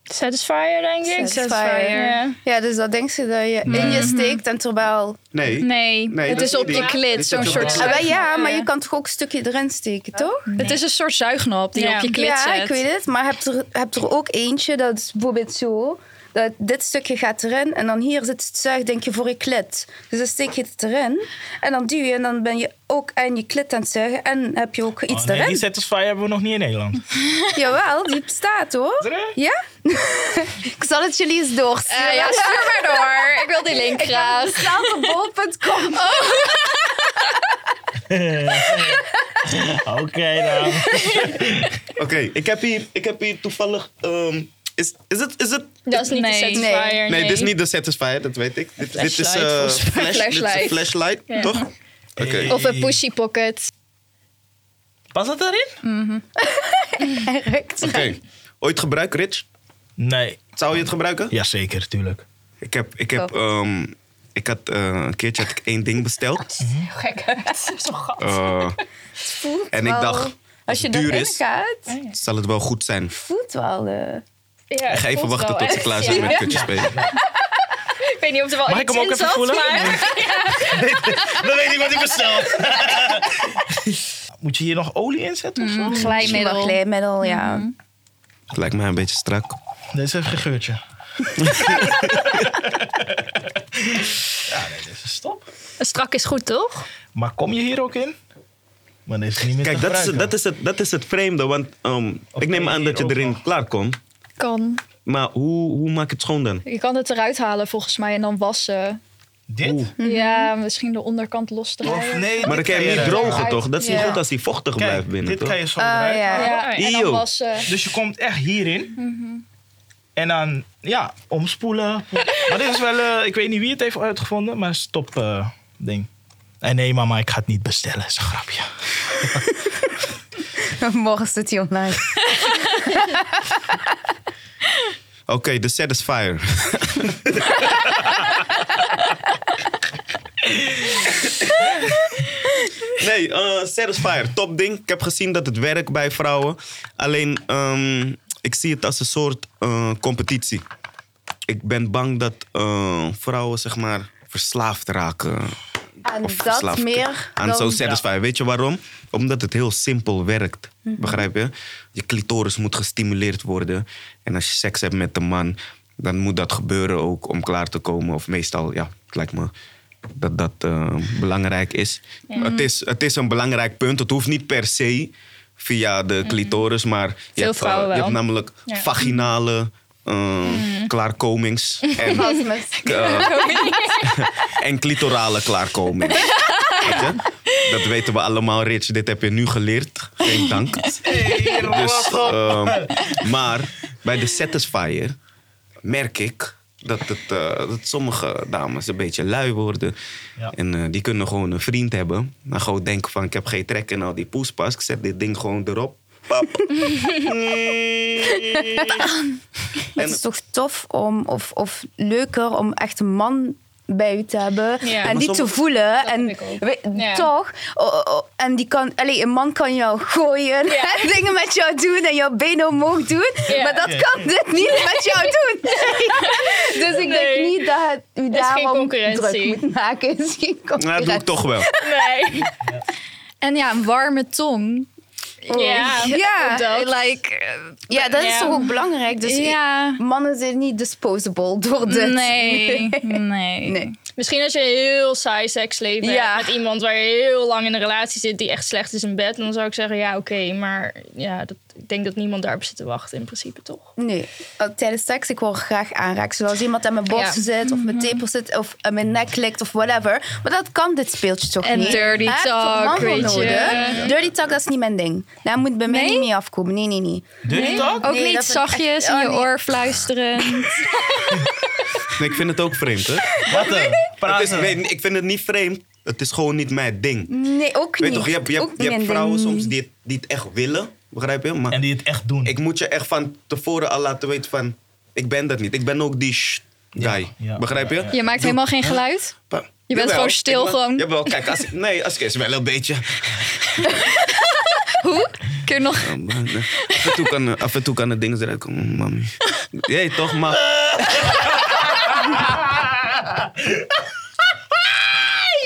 Speaker 6: Satisfier, denk ik.
Speaker 3: Satisfier.
Speaker 6: Ja.
Speaker 3: Ja, dus dat denk je dat je in je steekt en terwijl...
Speaker 4: Nee.
Speaker 1: Nee,
Speaker 4: Nee,
Speaker 1: het
Speaker 4: dat
Speaker 1: is
Speaker 4: is
Speaker 1: op je
Speaker 4: niet.
Speaker 1: klit.
Speaker 4: Dit
Speaker 1: Zo'n
Speaker 4: is op je
Speaker 1: soort
Speaker 2: klit.
Speaker 3: Ah, wel, ja, maar je
Speaker 1: ja.
Speaker 3: kan toch ook een stukje erin steken, toch?
Speaker 1: Het is een soort zuignap die je
Speaker 6: Ja.
Speaker 1: op je klit
Speaker 3: ja,
Speaker 1: zet.
Speaker 3: ik weet het. Maar heb er, heb er ook eentje, dat is bijvoorbeeld zo... Dat dit stukje gaat erin en dan hier zit het zuigdenkje voor je klit. Dus dan steek je het erin en dan duw je en dan ben je ook aan je klit aan het zuigen en heb je ook iets
Speaker 2: Oh, nee,
Speaker 3: erin.
Speaker 2: die Satisfy hebben we nog niet in Nederland.
Speaker 3: Jawel, die bestaat hoor.
Speaker 2: Serieus?
Speaker 3: Ja? ik zal het jullie eens doorsturen.
Speaker 1: Eh, ja, stuur maar door. Ik wil die link graag.
Speaker 3: Zelfde bol.com.
Speaker 2: Oké, dan.
Speaker 4: Oké, ik, heb hier- ik heb hier toevallig. ehm, is, is het. Is het
Speaker 6: Dat is niet
Speaker 1: Nee.
Speaker 6: de Satisfier.
Speaker 3: Nee.
Speaker 6: Nee,
Speaker 4: nee, dit is niet de Satisfier, dat weet ik. Dit, dit is.
Speaker 6: Flashlight,
Speaker 4: eh,
Speaker 6: volgens
Speaker 4: flash- dit is een
Speaker 1: Flashlight.
Speaker 4: flashlight, toch? Oké.
Speaker 1: Of een pushy pocket.
Speaker 2: Was dat erin?
Speaker 4: Oké. Ooit gebruikt, Rich?
Speaker 2: Nee.
Speaker 4: Zou je het gebruiken?
Speaker 2: Jazeker, tuurlijk.
Speaker 4: Ik heb, ik heb, ehm, ik had eh, een keertje had ik één ding besteld.
Speaker 6: gek. Zo'n gat.
Speaker 4: Eh, En ik dacht,
Speaker 3: Als je
Speaker 4: het duur
Speaker 3: erin
Speaker 4: is-
Speaker 3: gaat,
Speaker 4: zal het wel goed zijn? Ik
Speaker 3: voelt wel. eh,
Speaker 6: Ja, het
Speaker 4: ga even
Speaker 6: voelt
Speaker 4: wachten
Speaker 6: wel
Speaker 4: tot ze
Speaker 6: echt.
Speaker 4: klaar zijn
Speaker 6: Ja.
Speaker 4: met kutjes spelen.
Speaker 6: Ik weet niet of er wel
Speaker 2: Mag ik
Speaker 6: iets
Speaker 2: hem ook
Speaker 6: in
Speaker 2: even
Speaker 6: zat,
Speaker 2: voelen?
Speaker 6: maar...
Speaker 2: Dan weet ik wat ik besteld. Moet je hier nog olie in zetten of
Speaker 3: Mm.
Speaker 2: zo?
Speaker 1: Glijmiddel.
Speaker 3: Glijmiddel. Glijmiddel, ja.
Speaker 4: Het lijkt mij een beetje strak.
Speaker 2: Dit is even een geurtje. ja, nee, dit is stop.
Speaker 6: Strak is goed, toch?
Speaker 2: Maar kom je hier ook in? Maar dit is niet meer
Speaker 4: Kijk,
Speaker 2: te
Speaker 4: dat is,
Speaker 2: gebruiken.
Speaker 4: dat, is het, dat is het vreemde, want ehm,
Speaker 2: Of
Speaker 4: ik neem
Speaker 2: kan je
Speaker 4: aan dat je
Speaker 2: hier ook
Speaker 4: erin
Speaker 2: nog?
Speaker 4: klaar komt.
Speaker 1: Kan.
Speaker 4: Maar hoe, hoe maak ik het schoon dan?
Speaker 1: Je kan het eruit halen volgens mij en dan wassen.
Speaker 2: Dit?
Speaker 3: Mhm.
Speaker 1: Ja, misschien de onderkant los
Speaker 2: Of
Speaker 1: draaien.
Speaker 2: nee,
Speaker 4: Maar dan
Speaker 2: dit
Speaker 4: kan je hem niet
Speaker 2: eruit halen.
Speaker 4: drogen, toch? Dat is niet
Speaker 3: Ja.
Speaker 4: goed als hij vochtig
Speaker 2: Kijk,
Speaker 4: blijft binnen,
Speaker 2: dit
Speaker 4: toch?
Speaker 2: kan je zo
Speaker 3: Oh,
Speaker 2: eruit
Speaker 3: ja. Mhm.
Speaker 2: halen.
Speaker 1: Ja, en
Speaker 4: Eeuw.
Speaker 1: dan eh, wassen.
Speaker 2: Dus je komt echt hierin. En dan, ja, omspoelen. maar dit is wel, eh, ik weet niet wie het heeft uitgevonden, maar stop eh, ding. En nee, mama, ik ga het niet bestellen. is een grapje.
Speaker 3: Mhm. Morgen zit hij online.
Speaker 4: Oké, de Satisfier. Nee, eh Satisfyer, top ding. Ik heb gezien dat het werkt bij vrouwen. Alleen, ehm, ik zie het als een soort eh, competitie. Ik ben bang dat eh, vrouwen, zeg maar, verslaafd raken.
Speaker 3: En
Speaker 4: Of
Speaker 3: dat
Speaker 4: verslaafd
Speaker 3: meer
Speaker 4: aan
Speaker 3: dan...
Speaker 4: zo'n Satisfyer. Weet je waarom? Omdat het heel simpel werkt.
Speaker 6: Mhm.
Speaker 4: Begrijp je? Je clitoris moet gestimuleerd worden. En als je seks hebt met een man, dan moet dat gebeuren ook om klaar te komen. Of meestal, ja, het lijkt me dat dat eh, belangrijk is.
Speaker 6: Mhm.
Speaker 4: Het is. Het is een belangrijk punt. Het hoeft niet per se via de clitoris, maar je
Speaker 6: Mhm. Veel
Speaker 4: hebt, eh,
Speaker 6: vrouwen
Speaker 4: je hebt
Speaker 6: wel. Mhm.
Speaker 4: namelijk vaginale eh, klaarkomings. En
Speaker 3: Orgasmes.
Speaker 4: eh, en clitorale klaarkoming. Weet je? Dat weten we allemaal, Rich. Dit heb je nu geleerd. Geen dank. Dus, ehm, maar bij de Satisfier merk ik dat, het, eh, dat sommige dames een beetje lui worden.
Speaker 2: Ja.
Speaker 4: En eh, die kunnen gewoon een vriend hebben. Maar gewoon denken van, ik heb geen trek in al die poespas. Ik zet dit ding gewoon erop. Pap.
Speaker 3: Het is toch tof om, of, of leuker om echt een man bij u te hebben
Speaker 6: Ja.
Speaker 3: en
Speaker 6: Maar
Speaker 3: die te
Speaker 4: sommige-
Speaker 3: voelen. En
Speaker 6: heb ik ook.
Speaker 3: we-
Speaker 6: Ja.
Speaker 3: toch? Oh, oh, oh, en die kan, allee, een man kan jou gooien
Speaker 6: Ja.
Speaker 3: en dingen met jou doen en jouw benen omhoog doen.
Speaker 6: Ja.
Speaker 3: Maar dat kan dit niet met jou doen. Dus ik
Speaker 6: Nee.
Speaker 3: denk niet dat het u
Speaker 6: is geen
Speaker 3: daarom druk
Speaker 6: concurrentie.
Speaker 3: moet maken. Het is geen
Speaker 4: Nou, dat doe ik
Speaker 3: concurrentie.
Speaker 4: toch wel.
Speaker 6: Nee.
Speaker 1: En ja, een warme tong.
Speaker 6: Ja.
Speaker 3: Ja.
Speaker 6: ook dat.
Speaker 1: Like, eh,
Speaker 3: Ja, dat is
Speaker 6: Ja.
Speaker 3: toch ook belangrijk. Dus
Speaker 1: ja.
Speaker 3: mannen zijn niet disposable door dit.
Speaker 1: Nee, nee.
Speaker 3: Nee.
Speaker 6: Misschien als je een heel saai seksleven
Speaker 3: Ja.
Speaker 6: hebt met iemand waar je heel lang in een relatie zit die echt slecht is in bed, dan zou ik zeggen ja oké, maar ja, dat, ik denk dat niemand daarop zit te wachten in principe toch?
Speaker 3: Nee, Uh, tijdens seks, ik wil graag aanraken. Zoals als iemand aan mijn borst
Speaker 6: Ja.
Speaker 3: zit, of
Speaker 1: Mhm.
Speaker 3: mijn tepel zit, of aan mijn nek klikt, of whatever. Maar dat kan dit speeltje toch
Speaker 1: En
Speaker 3: niet?
Speaker 1: dirty
Speaker 3: Hè, het is een
Speaker 1: talk,
Speaker 3: man voor
Speaker 1: weet je.
Speaker 3: nodig. Dirty talk, dat is niet mijn ding. Daar moet bij mij niet mee afkomen. Nee, nee, nee.
Speaker 2: Doe je dat?
Speaker 1: Ook
Speaker 3: Nee,
Speaker 1: niet
Speaker 3: dat vind ik
Speaker 1: zachtjes
Speaker 3: echt-
Speaker 1: in
Speaker 3: oh,
Speaker 1: je
Speaker 3: nee.
Speaker 1: oor fluisteren.
Speaker 4: Nee, ik vind het ook vreemd, hè?
Speaker 2: Wat dan?
Speaker 4: Het is,
Speaker 2: Praten.
Speaker 4: nee, ik vind het niet vreemd. Het is gewoon niet mijn ding.
Speaker 3: Nee, ook
Speaker 4: Weet
Speaker 3: niet.
Speaker 4: toch, je hebt, je hebt,
Speaker 3: Ook
Speaker 4: je
Speaker 3: niet
Speaker 4: hebt
Speaker 3: mijn
Speaker 4: vrouwen
Speaker 3: ding.
Speaker 4: soms die het, die het echt willen, begrijp je? Maar
Speaker 2: En die het echt doen.
Speaker 4: ik moet je echt van tevoren al laten weten van... Ik ben dat niet. Ik ben ook die sh guy.
Speaker 2: ja,
Speaker 4: begrijp je?
Speaker 2: ja, ja.
Speaker 1: Je maakt helemaal geen geluid.
Speaker 4: Pa-
Speaker 1: bent
Speaker 4: Jawel,
Speaker 1: gewoon stil
Speaker 4: ik ben-
Speaker 1: gewoon.
Speaker 4: Jawel, kijk. Als ik, nee, als ik is wel een beetje...
Speaker 1: Hoe? Kun je nog...
Speaker 4: eh, maar, eh, af, en toe kan, eh, af en toe kan het ding eruit komen. Mami. Jee, toch, maar...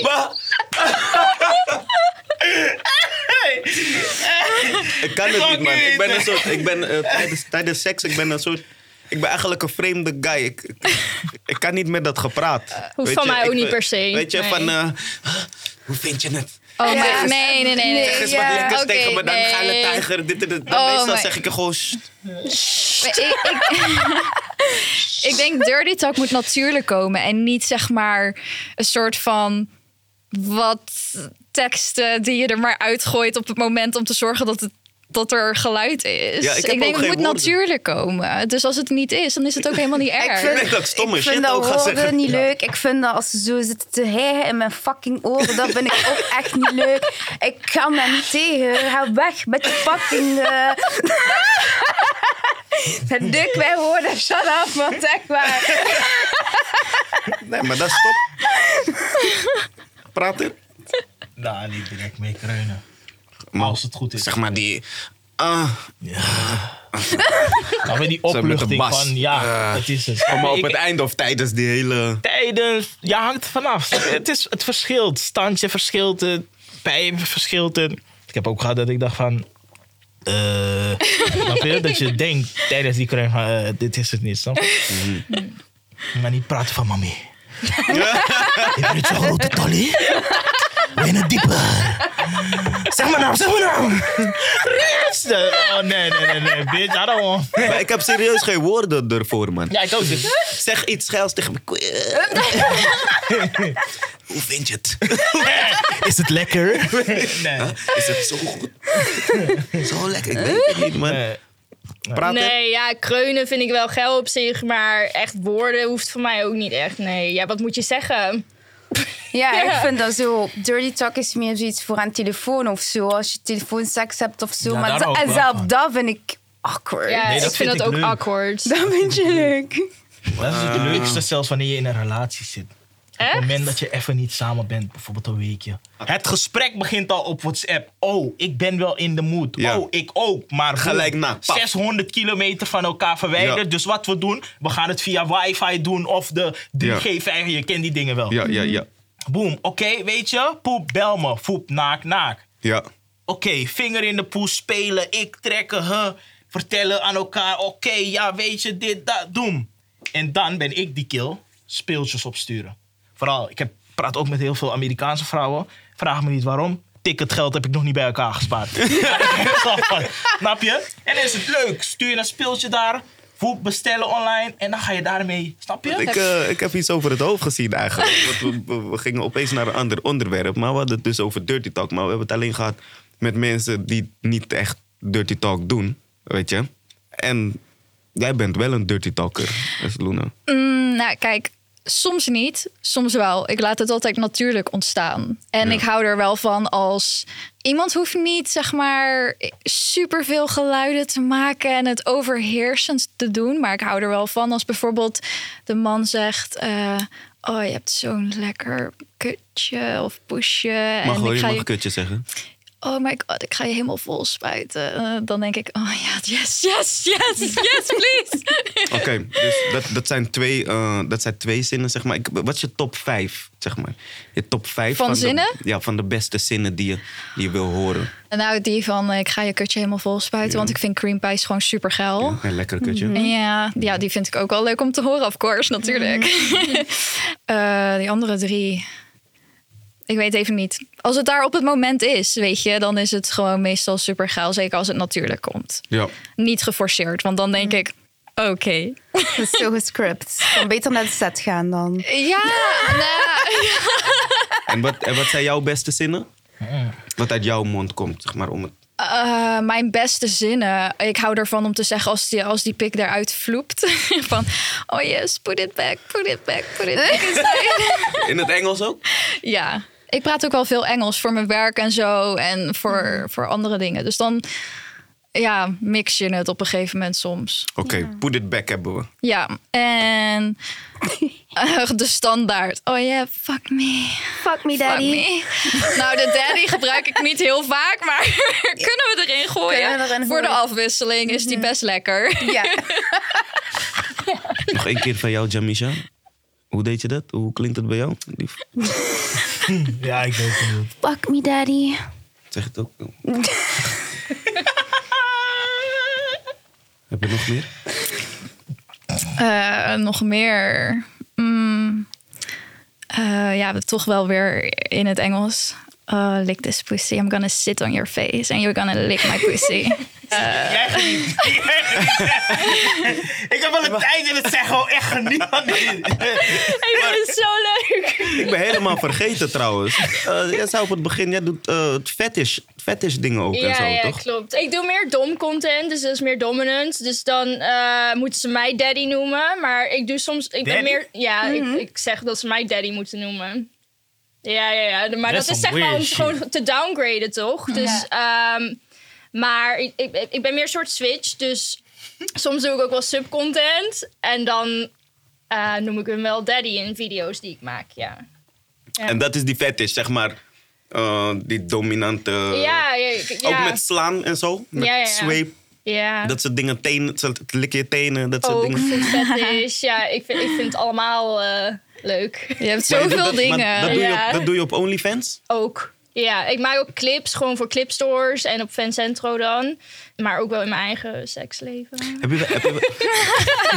Speaker 4: Ma. Ik kan het niet, man. Ik ben een soort. Ik ben eh, tijdens, tijdens seks, ik ben een soort. Ik ben eigenlijk een vreemde guy. Ik, ik, ik kan niet met dat gepraat.
Speaker 6: hoeft
Speaker 4: Weet
Speaker 6: van mij
Speaker 4: ik
Speaker 6: ook niet
Speaker 4: ben-
Speaker 6: per se.
Speaker 4: Weet je,
Speaker 6: Nee.
Speaker 4: van. eh, hoe vind je het?
Speaker 1: Oh,
Speaker 3: Ja.
Speaker 1: maar nee, nee, nee.
Speaker 4: Zeg
Speaker 1: nee.
Speaker 4: eens
Speaker 3: ja,
Speaker 4: wat lekkers
Speaker 1: oké,
Speaker 4: tegen me, dan
Speaker 1: nee.
Speaker 4: ga je tijger. Dit en dat. Dan
Speaker 1: Oh
Speaker 4: meestal
Speaker 1: my-
Speaker 4: zeg ik er gewoon. "Sst."
Speaker 1: Maar Ik, ik, ik denk dirty talk moet natuurlijk komen. En niet zeg maar een soort van wat teksten die je er maar uitgooit op het moment om te zorgen dat het dat er geluid is.
Speaker 4: Ja, ik heb
Speaker 1: denk
Speaker 4: ook
Speaker 1: het
Speaker 4: geen
Speaker 1: moet
Speaker 4: woorden.
Speaker 1: natuurlijk komen. Dus als het niet is, dan is het ook helemaal niet erg.
Speaker 3: Ik
Speaker 4: Nee, dat ik stomme
Speaker 3: ik
Speaker 4: shit
Speaker 3: vind dat
Speaker 4: ook ga
Speaker 3: horen
Speaker 4: zeggen.
Speaker 3: niet leuk. Ik vind dat als ze zo zitten te hijgen in mijn fucking oren, dat vind ik ook echt niet leuk. Ik ga daar niet tegen. Ga weg met je fucking... eh. Dat Duk, wij horen dat. shut up, man. Echt waar.
Speaker 4: Nee, maar dat is top. Praat er.
Speaker 2: Nou, niet direct mee kreunen. Als het goed is.
Speaker 4: Zeg maar die. ah,
Speaker 2: Dan
Speaker 4: met
Speaker 2: weer die
Speaker 4: de
Speaker 2: opluchting
Speaker 4: bas.
Speaker 2: van, ja,
Speaker 4: Eh,
Speaker 2: dat is het.
Speaker 4: maar op
Speaker 2: Ik-
Speaker 4: het eind of tijdens die hele.
Speaker 2: tijdens. Ja, hangt vanaf. Het, is, het verschilt. Standje verschilt het. Pijp verschilt het. Ik heb ook gehad dat ik dacht van. eh, snap je? Dat je denkt tijdens die crème van eh, dit is het niet, snap je?
Speaker 4: Mhm.
Speaker 2: Maar niet praten van mami. je bent zo'n grote tolly. Ben het diepe. Zeg maar naam, zeg maar nou. naam. Rest. Oh nee, nee, nee, nee. Bitch, I don't want.
Speaker 4: Maar ik heb serieus geen woorden ervoor, man.
Speaker 2: Ja, ik ook. Dus.
Speaker 4: Zeg iets geils tegen me. Hoe vind je het?
Speaker 2: Is het lekker? Nee.
Speaker 4: Is het zo goed? zo lekker? Ik weet het niet, man.
Speaker 2: Nee.
Speaker 4: Praat er.
Speaker 6: Nee, ja, kreunen vind ik wel geil op zich, maar echt woorden hoeft voor mij ook niet echt. Nee, ja, wat moet je zeggen?
Speaker 3: Ja,
Speaker 6: Ja.
Speaker 3: ik vind dat zo. Dirty talk is meer zoiets voor aan telefoon of zo. Als je telefoonseks hebt of zo.
Speaker 2: Ja,
Speaker 3: maar
Speaker 2: daar
Speaker 3: zo-
Speaker 2: ook
Speaker 3: en
Speaker 2: wel
Speaker 3: zelf
Speaker 2: van.
Speaker 3: dat vind ik awkward.
Speaker 6: Ja,
Speaker 2: Nee,
Speaker 6: ik
Speaker 2: dat
Speaker 6: vind,
Speaker 2: vind
Speaker 6: dat
Speaker 2: ik
Speaker 6: ook
Speaker 2: leuk.
Speaker 6: awkward.
Speaker 3: Dat vind je leuk.
Speaker 4: Ah.
Speaker 2: Dat is het leukste zelfs wanneer je in een relatie zit. het moment dat je even niet samen bent, bijvoorbeeld een weekje. Het gesprek begint al op WhatsApp. Oh, ik ben wel in de mood.
Speaker 4: Ja.
Speaker 2: Oh, ik ook. Maar
Speaker 4: Gelijk
Speaker 2: boem,
Speaker 4: na, pap.
Speaker 2: 600 kilometer van elkaar verwijderd.
Speaker 4: Ja.
Speaker 2: Dus wat we doen, we gaan het via wifi doen of de 3G, 5 Je kent die dingen wel.
Speaker 4: Ja, ja, ja.
Speaker 2: Boom, oké, weet je? Poep, bel me. Poep, naak, naak.
Speaker 4: Ja.
Speaker 2: Oké, vinger in de poes spelen, ik trekken, huh, vertellen aan elkaar. Oké, ja, weet je, dit, dat, doen. En dan ben ik die kill, speeltjes opsturen. Vooral, ik heb, praat ook met heel veel Amerikaanse vrouwen. Vraag me niet waarom. Ticketgeld heb ik nog niet bij elkaar gespaard. Ja, ik heb zelf van, Snap je? En dan is het leuk. Stuur je een speeltje daar. Voet bestellen online. En dan ga je daarmee. Snap je?
Speaker 4: Ik, eh, ik heb iets over het hoofd gezien eigenlijk. Want we, we- we gingen opeens naar een ander onderwerp. Maar we hadden het dus over dirty talk. Maar we hebben het alleen gehad met mensen die niet echt dirty talk doen. Weet je. En jij bent wel een dirty talker, dus Luna.
Speaker 1: Mm, nou, kijk, soms niet, soms wel. Ik laat het altijd natuurlijk ontstaan. En ik hou er wel van als iemand hoeft niet, zeg maar, superveel geluiden te maken en het overheersend te doen. Maar ik hou er wel van als bijvoorbeeld de man zegt. eh, Oh, je hebt zo'n lekker kutje of poesje.
Speaker 4: Mag
Speaker 1: en
Speaker 4: hoor,
Speaker 1: ik
Speaker 4: je
Speaker 1: ga
Speaker 4: mag
Speaker 1: je-
Speaker 4: kutje zeggen.
Speaker 1: oh my god, ik ga je helemaal vol spuiten. Eh, dan denk ik, oh ja, yes, yes, yes, yes, please.
Speaker 4: Oké, dus dat, dat, zijn twee, eh, dat zijn twee zinnen, zeg maar. Ik, wat is je top vijf, zeg maar? Je top vijf
Speaker 1: Van
Speaker 4: de-
Speaker 1: zinnen?
Speaker 4: ja, van de beste zinnen die je, die je wil horen.
Speaker 1: Nou, die van eh, ik ga je kutje helemaal vol spuiten, want ik vind cream pies gewoon super geil.
Speaker 4: Een lekker kutje.
Speaker 1: Ja. Ja, die vind ik ook wel leuk om te horen, of course, natuurlijk. Eh, die andere drie, ik weet even niet. Als het daar op het moment is, weet je, dan is het gewoon meestal super geil, zeker als het natuurlijk komt.
Speaker 4: Ja.
Speaker 1: Niet geforceerd, want dan denk ik, oké.
Speaker 3: Het is zo gescript. Kan beter naar de set gaan dan.
Speaker 1: Ja, nou,
Speaker 4: En wat, en wat zijn jouw beste zinnen? Wat uit jouw mond komt, zeg maar. Om het...
Speaker 1: Eh, mijn beste zinnen. Ik hou ervan om te zeggen als die, als die pik eruit vloept. Van, oh yes, put it back, put it back, put it back inside.
Speaker 4: In het Engels ook?
Speaker 1: ja, ik praat ook wel veel Engels voor mijn werk en zo. En voor, voor andere dingen. Dus dan ja, mix je het op een gegeven moment soms.
Speaker 4: Oké, put it back hebben we.
Speaker 1: Ja, en eh, de standaard. Oh yeah, fuck me,
Speaker 5: Fuck me,
Speaker 1: fuck
Speaker 5: daddy.
Speaker 1: me. Nou, de daddy gebruik ik niet heel vaak, maar kunnen we erin gooien? Mhm.
Speaker 3: Kunnen we erin
Speaker 1: voor de
Speaker 3: gooien.
Speaker 1: afwisseling is die best lekker.
Speaker 3: Ja.
Speaker 4: Nog één keer van jou, Jamisha. Hoe deed je dat? Hoe klinkt het bij jou? Die-
Speaker 2: Ja, ik ben ook benieuwd.
Speaker 5: Fuck me, daddy.
Speaker 4: Zeg het ook. Heb je nog meer?
Speaker 1: Eh, nog meer. Mm, eh, ja, toch wel weer in het Engels. Oh, lick this pussy. I'm gonna sit on your face. And you're gonna lick my pussy.
Speaker 2: Jij geniet. Jij geniet. ik heb wel een tijd in het zeggen, hoor. echt geniet van dit.
Speaker 6: Ik vind het zo leuk.
Speaker 4: Ik ben helemaal vergeten trouwens. Eh, jij zei op het begin, jij doet eh fetish, fetish dingen ook en zo,
Speaker 6: ja,
Speaker 4: toch?
Speaker 6: klopt. Ik doe meer dom content, dus dat is meer dominant. Dus dan eh, moeten ze mij daddy noemen. Maar ik doe soms. Ik ben
Speaker 2: Daddy?
Speaker 6: meer. Ja, ik, ik zeg dat ze mij daddy moeten noemen. Ja, ja, ja. Maar
Speaker 2: That's
Speaker 6: dat is
Speaker 2: some
Speaker 6: zeg maar
Speaker 2: weird
Speaker 6: om ze
Speaker 2: shit.
Speaker 6: gewoon te downgraden, toch? Dus. ehm, maar ik, ik, ik ben meer een soort switch. Dus soms doe ik ook wel subcontent. En dan eh, noem ik hem wel daddy in video's die ik maak. Ja,
Speaker 4: En dat is die fetish, zeg maar. eh, die dominante...
Speaker 6: ja, ja. ik- ja.
Speaker 4: Eh, Ook met slaan en zo. Met
Speaker 6: Ja, ja, ja.
Speaker 4: sweep.
Speaker 6: ja.
Speaker 4: Dat soort dingen, tenen, het likken je tenen, dat soort
Speaker 6: ook
Speaker 4: dingen.
Speaker 6: food fetish. Ja, ik vind, ik vind het allemaal eh, leuk.
Speaker 1: Je hebt
Speaker 4: Maar je doet
Speaker 1: zoveel
Speaker 4: dat- maar Dat
Speaker 1: dingen.
Speaker 4: doe, je
Speaker 6: Ja.
Speaker 4: op, dat doe je op OnlyFans?
Speaker 6: Ook. Ja, ik maak ook clips gewoon voor clipstores en op Fancentro dan. Maar ook wel in mijn eigen seksleven.
Speaker 4: Hebben jullie, hebben jullie-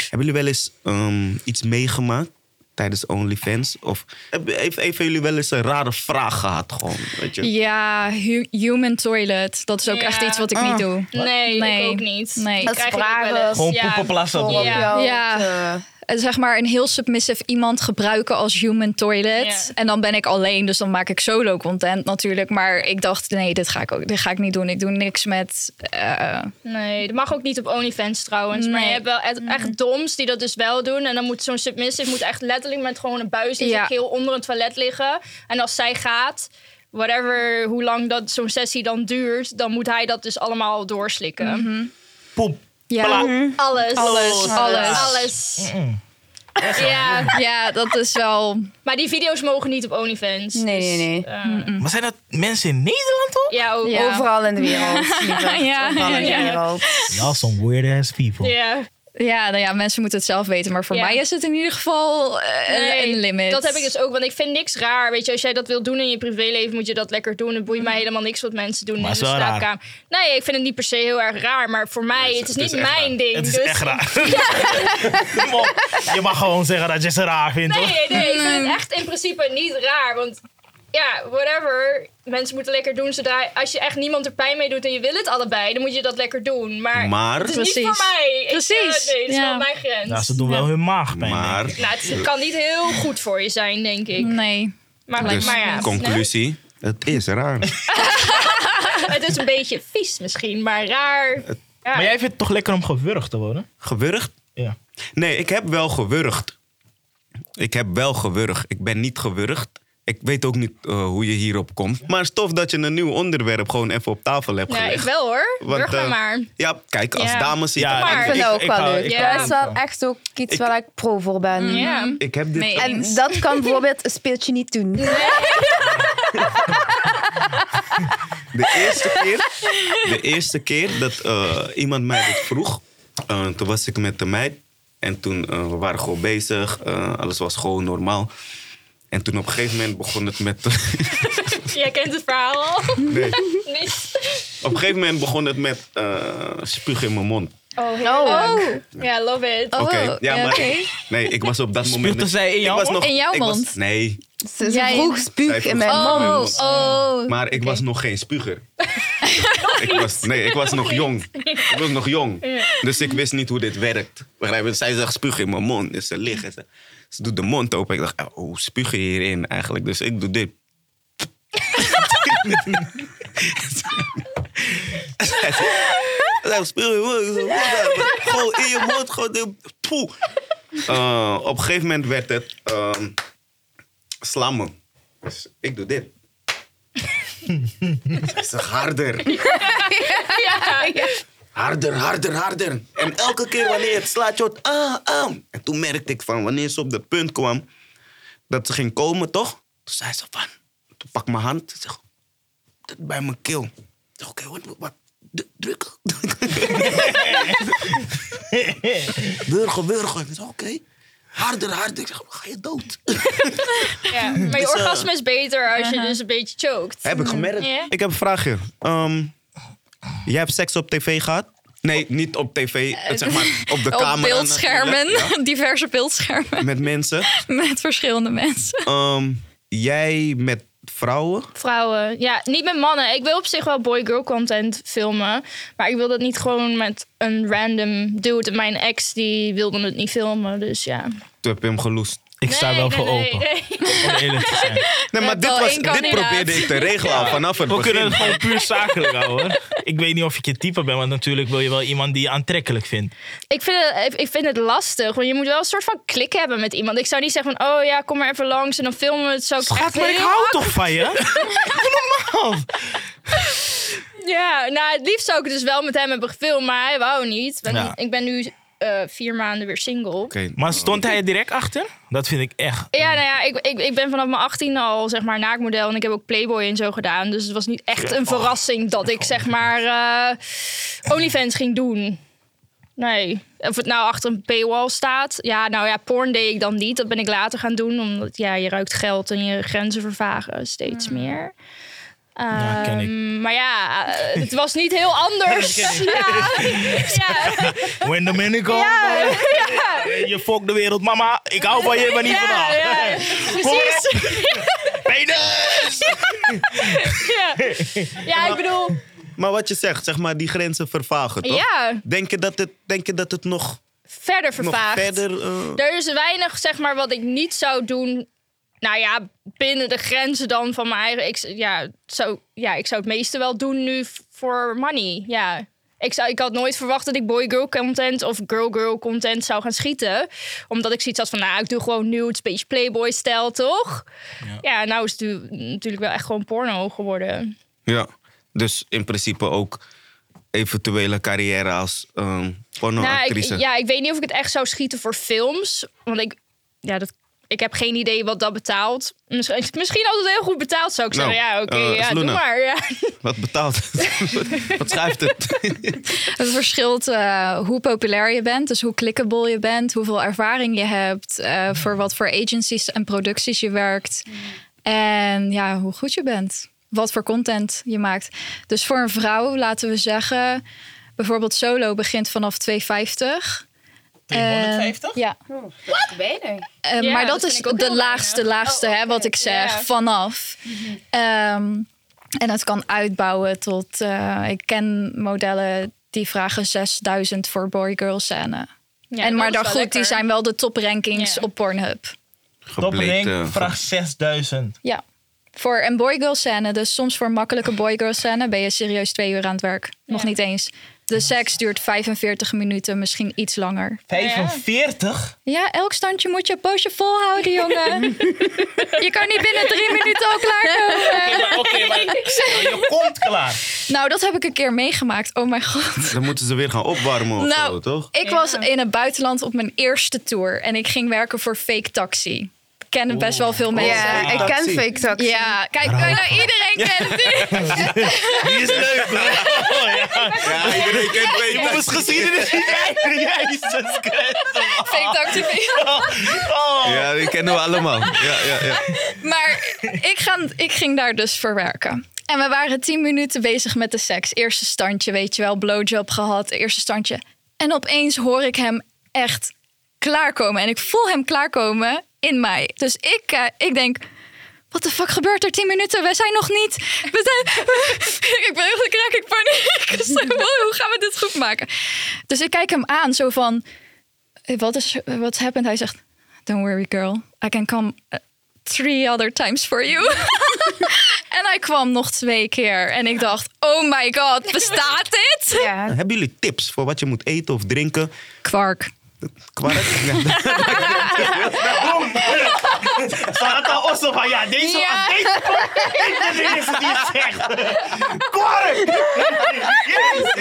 Speaker 4: hebben jullie wel eens ehm, iets meegemaakt tijdens OnlyFans? Of heb- heeft een van jullie wel eens een rare vraag gehad? Gewoon, weet je?
Speaker 1: Ja, hu- human toilet. Dat is ook
Speaker 6: Ja.
Speaker 1: echt iets wat ik
Speaker 4: Ah.
Speaker 1: niet doe.
Speaker 6: Nee,
Speaker 1: Nee.
Speaker 6: ik ook niet.
Speaker 1: Nee.
Speaker 6: Die
Speaker 1: Dat
Speaker 3: is
Speaker 6: krijg ik ook wel
Speaker 3: vragen.
Speaker 6: eens,
Speaker 2: Gewoon
Speaker 6: ja.
Speaker 2: poepen plassen.
Speaker 6: Ja.
Speaker 1: Ja. Eh, Zeg maar een heel submissive iemand gebruiken als human toilet.
Speaker 6: Ja.
Speaker 1: En dan ben ik alleen, dus dan maak ik solo content natuurlijk. Maar ik dacht, nee, dit ga ik ook dit ga ik niet doen. Ik doe niks met. eh,
Speaker 6: Nee, dat mag ook niet op OnlyFans trouwens. Maar je
Speaker 1: Nee.
Speaker 6: hebt wel echt, echt doms die dat dus wel doen. En dan moet zo'n submissive moet echt letterlijk met gewoon een buis in
Speaker 1: Ja.
Speaker 6: zijn keel onder een toilet liggen. En als zij gaat, whatever, hoe lang dat zo'n sessie dan duurt... dan moet hij dat dus allemaal doorslikken.
Speaker 2: Poep.
Speaker 1: ja.
Speaker 2: Pla-
Speaker 6: Alles.
Speaker 1: Alles, alles.
Speaker 6: Alles. Ja,
Speaker 1: Ja, dat is wel.
Speaker 6: maar die video's mogen niet op OnlyFans.
Speaker 3: Nee, nee, nee.
Speaker 6: eh,
Speaker 2: Maar zijn dat mensen in Nederland op?
Speaker 6: ja, ook.
Speaker 1: Ja.
Speaker 3: Overal in de wereld. lieverd.
Speaker 1: Ja,
Speaker 3: Overal in de
Speaker 1: ja.
Speaker 3: wereld.
Speaker 2: Ja, some weird ass people.
Speaker 6: Ja.
Speaker 1: Ja, nou ja, mensen moeten het zelf weten. Maar voor
Speaker 6: Ja.
Speaker 1: mij is het in ieder geval eh, een-
Speaker 6: Nee,
Speaker 1: een limit.
Speaker 6: Dat heb ik dus ook, want ik vind niks raar. Weet je, als jij dat wilt doen in je privéleven, moet je dat lekker doen. Het boeit mij helemaal niks wat mensen doen
Speaker 2: Maar
Speaker 6: in
Speaker 2: het
Speaker 6: de
Speaker 2: is wel raar.
Speaker 6: slaapkamer. Nee, ik vind het niet per se heel erg raar, maar voor mij, het is niet
Speaker 4: is echt
Speaker 6: mijn
Speaker 4: raar.
Speaker 6: ding.
Speaker 2: Het is
Speaker 6: dus
Speaker 2: echt raar. Kom op, je mag gewoon zeggen dat je ze raar vindt, hoor.
Speaker 6: Nee, nee, ik
Speaker 1: Mm.
Speaker 6: vind het echt in principe niet raar, want ja, whatever. Mensen moeten lekker doen zodra als je echt niemand er pijn mee doet en je wil het allebei, dan moet je dat lekker doen. Maar,
Speaker 4: Maar-
Speaker 6: het is niet
Speaker 1: Precies.
Speaker 6: voor mij. Ik, eh,
Speaker 1: Precies,
Speaker 6: nee, het is
Speaker 1: ja.
Speaker 6: wel mijn grens.
Speaker 2: Nou, ze doen wel hun maagpijn. denk
Speaker 4: Maar,
Speaker 2: ik.
Speaker 6: Nou, het, het kan niet heel goed voor je zijn, denk
Speaker 1: Mm.
Speaker 6: ik.
Speaker 1: Nee.
Speaker 6: Maar,
Speaker 4: dus,
Speaker 6: maar ja,
Speaker 4: conclusie. Het is raar.
Speaker 6: het is een beetje vies misschien, maar raar. Ja.
Speaker 2: Maar jij vindt het toch lekker om gewurgd te worden?
Speaker 4: Gewurgd?
Speaker 2: Ja.
Speaker 4: Nee, ik heb wel gewurgd. Ik heb wel gewurgd. Ik ben niet gewurgd. Ik weet ook niet eh, hoe je hierop komt. Maar stof dat je een nieuw onderwerp gewoon even op tafel hebt
Speaker 6: Nou,
Speaker 4: gelegd.
Speaker 6: ik wel hoor.
Speaker 4: Want,
Speaker 6: Burg mij
Speaker 4: eh,
Speaker 6: maar.
Speaker 4: Ja, kijk, als
Speaker 6: Ja.
Speaker 4: dames zie
Speaker 2: Ja,
Speaker 4: ik-
Speaker 6: Maar-
Speaker 3: Ik vind dat ook wel
Speaker 2: hou-
Speaker 3: leuk.
Speaker 2: ik
Speaker 6: hou
Speaker 3: Dat is wel echt ook iets
Speaker 4: Ik-
Speaker 3: waar ik pro voor ben.
Speaker 6: Ja.
Speaker 1: Mm.
Speaker 4: Ik heb dit...
Speaker 1: Nee.
Speaker 3: En
Speaker 1: Eens.
Speaker 3: dat kan bijvoorbeeld een speeltje niet doen.
Speaker 4: De eerste keer, de eerste keer dat eh, iemand mij dit vroeg, eh, toen was ik met de meid. En toen eh, we waren gewoon bezig, eh, alles was gewoon normaal. En toen op een gegeven moment begon het met.
Speaker 6: Jij kent het verhaal al.
Speaker 4: Nee.
Speaker 6: Nee.
Speaker 4: Op een gegeven moment begon het met eh spuug in mijn mond.
Speaker 6: Oh, Ja, love it.
Speaker 1: Oh,
Speaker 4: Oké, ja,
Speaker 1: ja,
Speaker 4: maar.
Speaker 1: oké.
Speaker 4: Nee, ik was op dat
Speaker 2: Spuugde
Speaker 4: moment.
Speaker 2: zij in
Speaker 4: ik
Speaker 2: jouw
Speaker 4: was
Speaker 2: mond?
Speaker 4: nog,
Speaker 1: In jouw
Speaker 4: ik was-
Speaker 1: mond?
Speaker 4: nee,
Speaker 3: Ze ze
Speaker 1: Jij-
Speaker 3: vroeg
Speaker 4: Hij
Speaker 3: spuug
Speaker 4: vroeg
Speaker 3: in mijn
Speaker 4: spuug in mijn
Speaker 3: mond.
Speaker 4: mond.
Speaker 1: Oh.
Speaker 4: Maar ik was nog geen spuger. ik was, nee, ik was nog jong. Ik was nog jong. Dus ik wist niet hoe dit werkt. Begrijp je? Zij zag spugen in mijn mond. Dus ze liggen. Ze, ze doet de mond open. Ik dacht, oh, hoe spuug je hierin eigenlijk? Dus ik doe dit. Zij zegt, spuug in je mond. Ik zeg, Gewoon in je mond. Gewoon dit. Poeh. Eh, op een gegeven moment werd het ehm, slammen. Dus ik doe dit. Ze zegt harder. Harder, harder, harder. En elke keer wanneer het slaat, je hoort, ah, ah. En toen merkte ik van wanneer ze op dat punt kwam dat ze ging komen, toch? Toen zei ze van, toen pak mijn hand. Ze zegt, dat bij mijn keel. Ik zeg, Oké, wat, wat, d- druk. Burger, burger. Ik zeg, oké. Harder, harder. Ik zeg, ga je dood?
Speaker 6: Ja. Maar je
Speaker 4: Dus, eh,
Speaker 6: orgasme is beter als je
Speaker 1: Uh-huh.
Speaker 6: dus een beetje choked.
Speaker 4: Heb ik gemerkt.
Speaker 6: Ja.
Speaker 4: Ik heb een vraagje. Ehm, jij hebt seks op tv gehad? Nee, niet op tv. eh, Zeg maar op de
Speaker 1: Op
Speaker 4: camera.
Speaker 1: beeldschermen,
Speaker 4: natuurlijk,
Speaker 1: diverse beeldschermen
Speaker 4: ja, Met mensen.
Speaker 1: met verschillende mensen.
Speaker 4: Ehm, jij met vrouwen?
Speaker 6: Vrouwen. Ja, niet met mannen. Ik wil op zich wel boy-girl content filmen. Maar ik wil dat niet gewoon met een random dude. En Mijn ex die wilde het niet filmen, dus ja.
Speaker 4: Toen heb je hem geloest.
Speaker 2: Ik sta wel voor
Speaker 6: nee,
Speaker 2: open.
Speaker 6: nee.
Speaker 2: Om eerlijk te zijn.
Speaker 4: Nee, maar
Speaker 1: hebt
Speaker 4: dit,
Speaker 1: wel
Speaker 4: was,
Speaker 1: één
Speaker 4: dit
Speaker 1: kandidaat.
Speaker 4: probeerde ik te regelen al vanaf het
Speaker 2: We
Speaker 4: begin.
Speaker 2: kunnen het gewoon puur zakelijk houden. hoor. Ik weet niet of ik je type ben, want natuurlijk wil je wel iemand die je aantrekkelijk vindt.
Speaker 6: Ik vind, het, ik vind het lastig, want je moet wel een soort van klik hebben met iemand. Ik zou niet zeggen van, oh ja, kom maar even langs en dan filmen we het. Zou ik echt
Speaker 2: Schat, maar ik
Speaker 6: heel-
Speaker 2: hou toch van je? Doe Normaal.
Speaker 6: Ja, nou het liefst zou ik het dus wel met hem hebben gefilmd, maar hij wou niet. Want
Speaker 2: Ja.
Speaker 6: Ik ben nu eh, vier maanden weer single.
Speaker 4: Oké.
Speaker 2: Maar stond hij er direct achter? Dat vind ik echt.
Speaker 6: Ja, nou ja, ik, ik, ik ben vanaf mijn 18 al zeg maar naakmodel en ik heb ook Playboy en zo gedaan. Dus het was niet echt een verrassing dat ik zeg maar eh, OnlyFans ging doen. Nee. Of het nou achter een paywall staat. Ja, nou ja, porn deed ik dan niet. Dat ben ik later gaan doen. Omdat ja, je ruikt geld en je grenzen vervagen steeds meer.
Speaker 2: Ja, ken ik.
Speaker 6: Ehm, maar ja, eh, het was niet heel anders. Ja, ja,
Speaker 2: When the minute comes. eh, Je fokt de wereld, mama. Ik hou van je, maar niet
Speaker 6: Ja,
Speaker 2: vandaag.
Speaker 6: ja. precies.
Speaker 2: Penis!
Speaker 6: Ja, ik bedoel,
Speaker 4: Maar wat je zegt, zeg maar, die grenzen vervagen, toch?
Speaker 6: ja,
Speaker 4: Denk je dat het, denk je dat het nog,
Speaker 6: verder
Speaker 4: nog
Speaker 6: vervaagd.
Speaker 4: verder... eh,
Speaker 6: Er is weinig, zeg maar, wat ik niet zou doen. Nou ja, binnen de grenzen dan van mijn eigen. Ik, z- ja, zou, ja, ik zou het meeste wel doen nu v- voor money. Ja. Ik, zou, ik had nooit verwacht dat ik boy-girl content of girl-girl content zou gaan schieten. Omdat ik zoiets had van, nou, ik doe gewoon nudes, beetje playboy-stijl, toch? Ja. nou is het nu- natuurlijk wel echt gewoon porno geworden.
Speaker 4: Ja, dus in principe ook eventuele carrière als ehm
Speaker 6: Nou,
Speaker 4: pornoactrice.
Speaker 6: ik, ja, ik weet niet of ik het echt zou schieten voor films. Want ik, ja, dat, ik heb geen idee wat dat betaalt. Misschien, misschien altijd heel goed betaald, zou ik
Speaker 4: Nou,
Speaker 6: zeggen. Ja, oké,
Speaker 4: eh,
Speaker 6: ja, doe
Speaker 4: Sloenen.
Speaker 6: maar. Ja.
Speaker 4: Wat betaalt? Wat schuift het?
Speaker 1: Het verschilt eh, hoe populair je bent, dus hoe clickable je bent, hoeveel ervaring je hebt, eh,
Speaker 6: Mm.
Speaker 1: voor wat voor agencies en producties je werkt. En ja, hoe goed je bent, wat voor content je maakt. Dus voor een vrouw, laten we zeggen, bijvoorbeeld solo begint vanaf 250.
Speaker 2: 350?
Speaker 1: Eh, ja,
Speaker 3: Weinig.
Speaker 1: Eh,
Speaker 6: Ja,
Speaker 1: maar
Speaker 6: dat
Speaker 1: dat,
Speaker 6: vind
Speaker 1: is
Speaker 6: ik ook
Speaker 1: de
Speaker 6: heel
Speaker 1: laagste,
Speaker 6: weinig.
Speaker 1: laagste,
Speaker 6: Oh,
Speaker 1: hè,
Speaker 6: oké.
Speaker 1: wat ik zeg,
Speaker 6: Ja.
Speaker 1: vanaf. Ehm, en het kan uitbouwen tot, eh, ik ken modellen die vragen 6000 voor boy-girl scène.
Speaker 6: Ja,
Speaker 1: en
Speaker 6: dat
Speaker 1: maar
Speaker 6: is
Speaker 1: daar
Speaker 6: wel
Speaker 1: goed,
Speaker 6: lekker.
Speaker 1: die zijn wel de toprankings
Speaker 6: Ja.
Speaker 1: op Pornhub.
Speaker 2: Toplink,
Speaker 4: Gebleekt, eh,
Speaker 2: vraag 6000.
Speaker 1: Ja. Voor een boy-girl scène, dus soms voor makkelijke boy-girl scène... ben je serieus twee uur aan het werk. Nog niet eens. De seks duurt 45 minuten, misschien iets langer.
Speaker 2: 45?
Speaker 1: Ja, elk standje moet je poosje volhouden, jongen. je kan niet binnen drie minuten al klaarkomen.
Speaker 2: Oké, maar, oké, maar je komt klaar.
Speaker 1: Nou, dat heb ik een keer meegemaakt. Oh mijn god.
Speaker 4: Dan moeten ze weer gaan opwarmen of
Speaker 1: Nou,
Speaker 4: zo, toch?
Speaker 1: Ik was in het buitenland op mijn eerste tour en ik ging werken voor Fake Taxi. Kennen best wel veel mensen.
Speaker 3: Ja,
Speaker 1: Ja,
Speaker 4: Fake
Speaker 3: ik ken
Speaker 4: taxi.
Speaker 3: fake taxi.
Speaker 1: kijk, bijna iedereen kent die.
Speaker 2: Die is leuk, man. Oh, ja.
Speaker 4: Ja, iedereen kent
Speaker 2: Je moet eens geschiedenis niet kijken. Jezus Christus.
Speaker 1: Fake Taxi.
Speaker 2: Oh.
Speaker 4: Ja, die kennen we allemaal. Ja, ja, ja.
Speaker 1: Maar ik, ga, ik ging daar dus voor werken. En we waren tien minuten bezig met de seks. Eerste standje, weet je wel, blowjob gehad, eerste standje. En opeens hoor ik hem echt klaarkomen. En ik voel hem klaarkomen in mij. Dus ik, eh, ik denk, wat de fuck gebeurt er tien minuten? We zijn nog niet. We zijn... ik ben echt, krijg ik paniek. Zo, wow, hoe gaan we dit goed maken? Dus ik kijk hem aan, zo van, eh, wat is, what's happened? Hij zegt, don't worry girl, I can come eh, three other times for you. en hij kwam nog twee keer. En ik dacht, oh my god, bestaat dit?
Speaker 3: Ja.
Speaker 4: Hebben jullie tips voor wat je moet eten of drinken?
Speaker 1: Kwark.
Speaker 4: Kwark? Ja,
Speaker 2: Sarata Osso van ja, deze
Speaker 1: Ja.
Speaker 2: ja. deze dit is het die zegt. Kwark! Yes,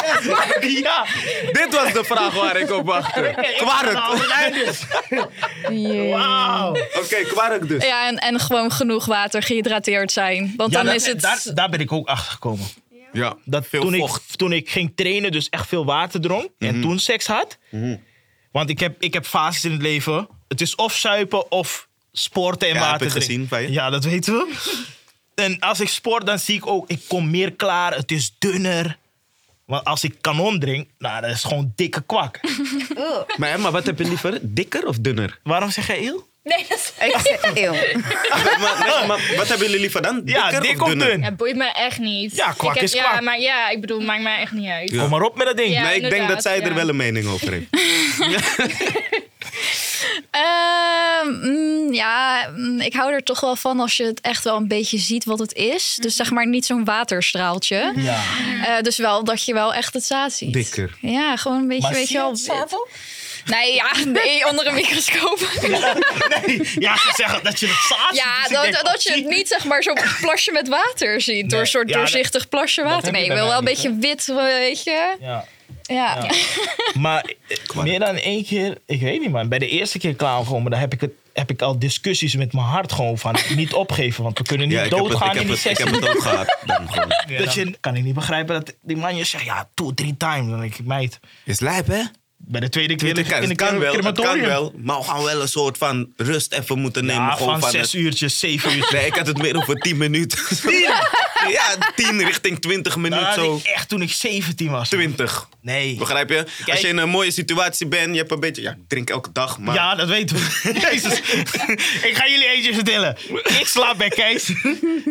Speaker 2: yes. Ja,
Speaker 4: dit was de vraag waar ik op wachtte. Kwark!
Speaker 2: Nou,
Speaker 4: Oké,
Speaker 2: dat is- Wauw.
Speaker 4: kwark dus.
Speaker 1: Ja, en, en gewoon genoeg water, gehydrateerd zijn. Want
Speaker 2: Ja,
Speaker 1: dan
Speaker 2: dat-
Speaker 1: is het...
Speaker 2: daar, daar ben ik ook achter gekomen.
Speaker 4: Ja,
Speaker 2: Dat
Speaker 4: veel
Speaker 2: toen,
Speaker 4: vocht. Mhm.
Speaker 2: Ik, toen ik ging trainen, dus echt veel water dronk en toen seks had. Want ik heb, ik heb fases in het leven. Het is of zuipen of sporten en
Speaker 4: Ja, heb
Speaker 2: water
Speaker 4: ik
Speaker 2: drinken.
Speaker 4: gezien van je.
Speaker 2: Ja, dat weten we. En als ik sport, dan zie ik ook, ik kom meer klaar. Het is dunner. Want als ik kanon drink, nou, dat is gewoon dikke kwak.
Speaker 4: Maar Emma, wat heb je liever? Dikker of dunner?
Speaker 2: Waarom zeg jij eel?
Speaker 6: Nee, dat is...
Speaker 3: Ik zeg, eeuw.
Speaker 4: maar, nee, maar wat hebben jullie liever dan?
Speaker 2: Ja,
Speaker 4: Dikker
Speaker 2: dik of dun.
Speaker 6: Ja, boeit me echt niet.
Speaker 2: Ja, kwak
Speaker 6: ik heb-
Speaker 2: is kwak.
Speaker 6: Ja, maar ja, ik bedoel, maakt mij echt niet uit.
Speaker 2: Kom maar op met dat ding.
Speaker 6: Ja.
Speaker 4: maar ik denk dat
Speaker 6: inderdaad,
Speaker 4: zij er
Speaker 6: ja.
Speaker 4: wel een mening over heeft.
Speaker 1: Ehm, mm, ja, mm, ik hou er toch wel van als je het echt wel een beetje ziet wat het is. Dus
Speaker 6: Mhm.
Speaker 1: zeg maar niet zo'n waterstraaltje.
Speaker 2: Ja.
Speaker 1: Eh, dus wel dat je wel echt het zaad ziet.
Speaker 4: Dikker.
Speaker 1: Ja, gewoon een beetje,
Speaker 2: Maar
Speaker 1: weet
Speaker 2: zie
Speaker 1: je
Speaker 2: je
Speaker 1: wel.
Speaker 2: het zaad
Speaker 1: Nee, ja, nee, onder een microscoop.
Speaker 2: Nee, ja, ze zeggen dat je het zaad
Speaker 1: Ja,
Speaker 2: ziet, dus ik
Speaker 1: dat,
Speaker 2: denk,
Speaker 1: dat je
Speaker 2: oh,
Speaker 1: het niet zeg maar zo'n plasje met water ziet. door een soort
Speaker 2: ja, dat-
Speaker 1: doorzichtig plasje
Speaker 2: heb
Speaker 1: water.
Speaker 2: je
Speaker 1: Nee, ik
Speaker 2: bij
Speaker 1: wil
Speaker 2: mij
Speaker 1: wel een
Speaker 2: niet,
Speaker 1: beetje wit, weet je.
Speaker 2: Ja.
Speaker 1: Ja.
Speaker 2: Ja. Maar eh, meer dan één keer, ik weet niet man. Bij de eerste keer klaarkomen, daar heb ik, het, heb ik al discussies met mijn hart gewoon van. Niet opgeven, want we kunnen niet
Speaker 4: Ja, ik heb het,
Speaker 2: doodgaan
Speaker 4: ik heb
Speaker 2: in die
Speaker 4: het, ik heb
Speaker 2: sessie.
Speaker 4: het ook gehad. Dan gewoon.
Speaker 2: Dat je, kan ik niet begrijpen dat die man je zegt, ja, two, three times. Dan denk ik, meid,
Speaker 4: Is lijp, hè?
Speaker 2: bij de tweede keer
Speaker 4: Het
Speaker 2: lig ik
Speaker 4: kan,
Speaker 2: in een
Speaker 4: het kan wel, het
Speaker 2: crematorium.
Speaker 4: kan wel. Maar we gaan wel een soort van rust even moeten nemen.
Speaker 2: Ja,
Speaker 4: gewoon
Speaker 2: van
Speaker 4: het-
Speaker 2: zes uurtjes, zeven uurtjes.
Speaker 4: Nee, ik had het meer over 10 minuten. ja, 10 richting 20 minuten
Speaker 2: Dat
Speaker 4: zo.
Speaker 2: had ik echt toen ik 17 was.
Speaker 4: 20.
Speaker 2: Nee.
Speaker 4: Begrijp je? Als je in een mooie situatie bent, je hebt een beetje. Ja, ik drink elke dag, maar.
Speaker 2: Ja, dat weten we. Jezus. ik ga jullie eentje vertellen. Ik slaap bij Kees.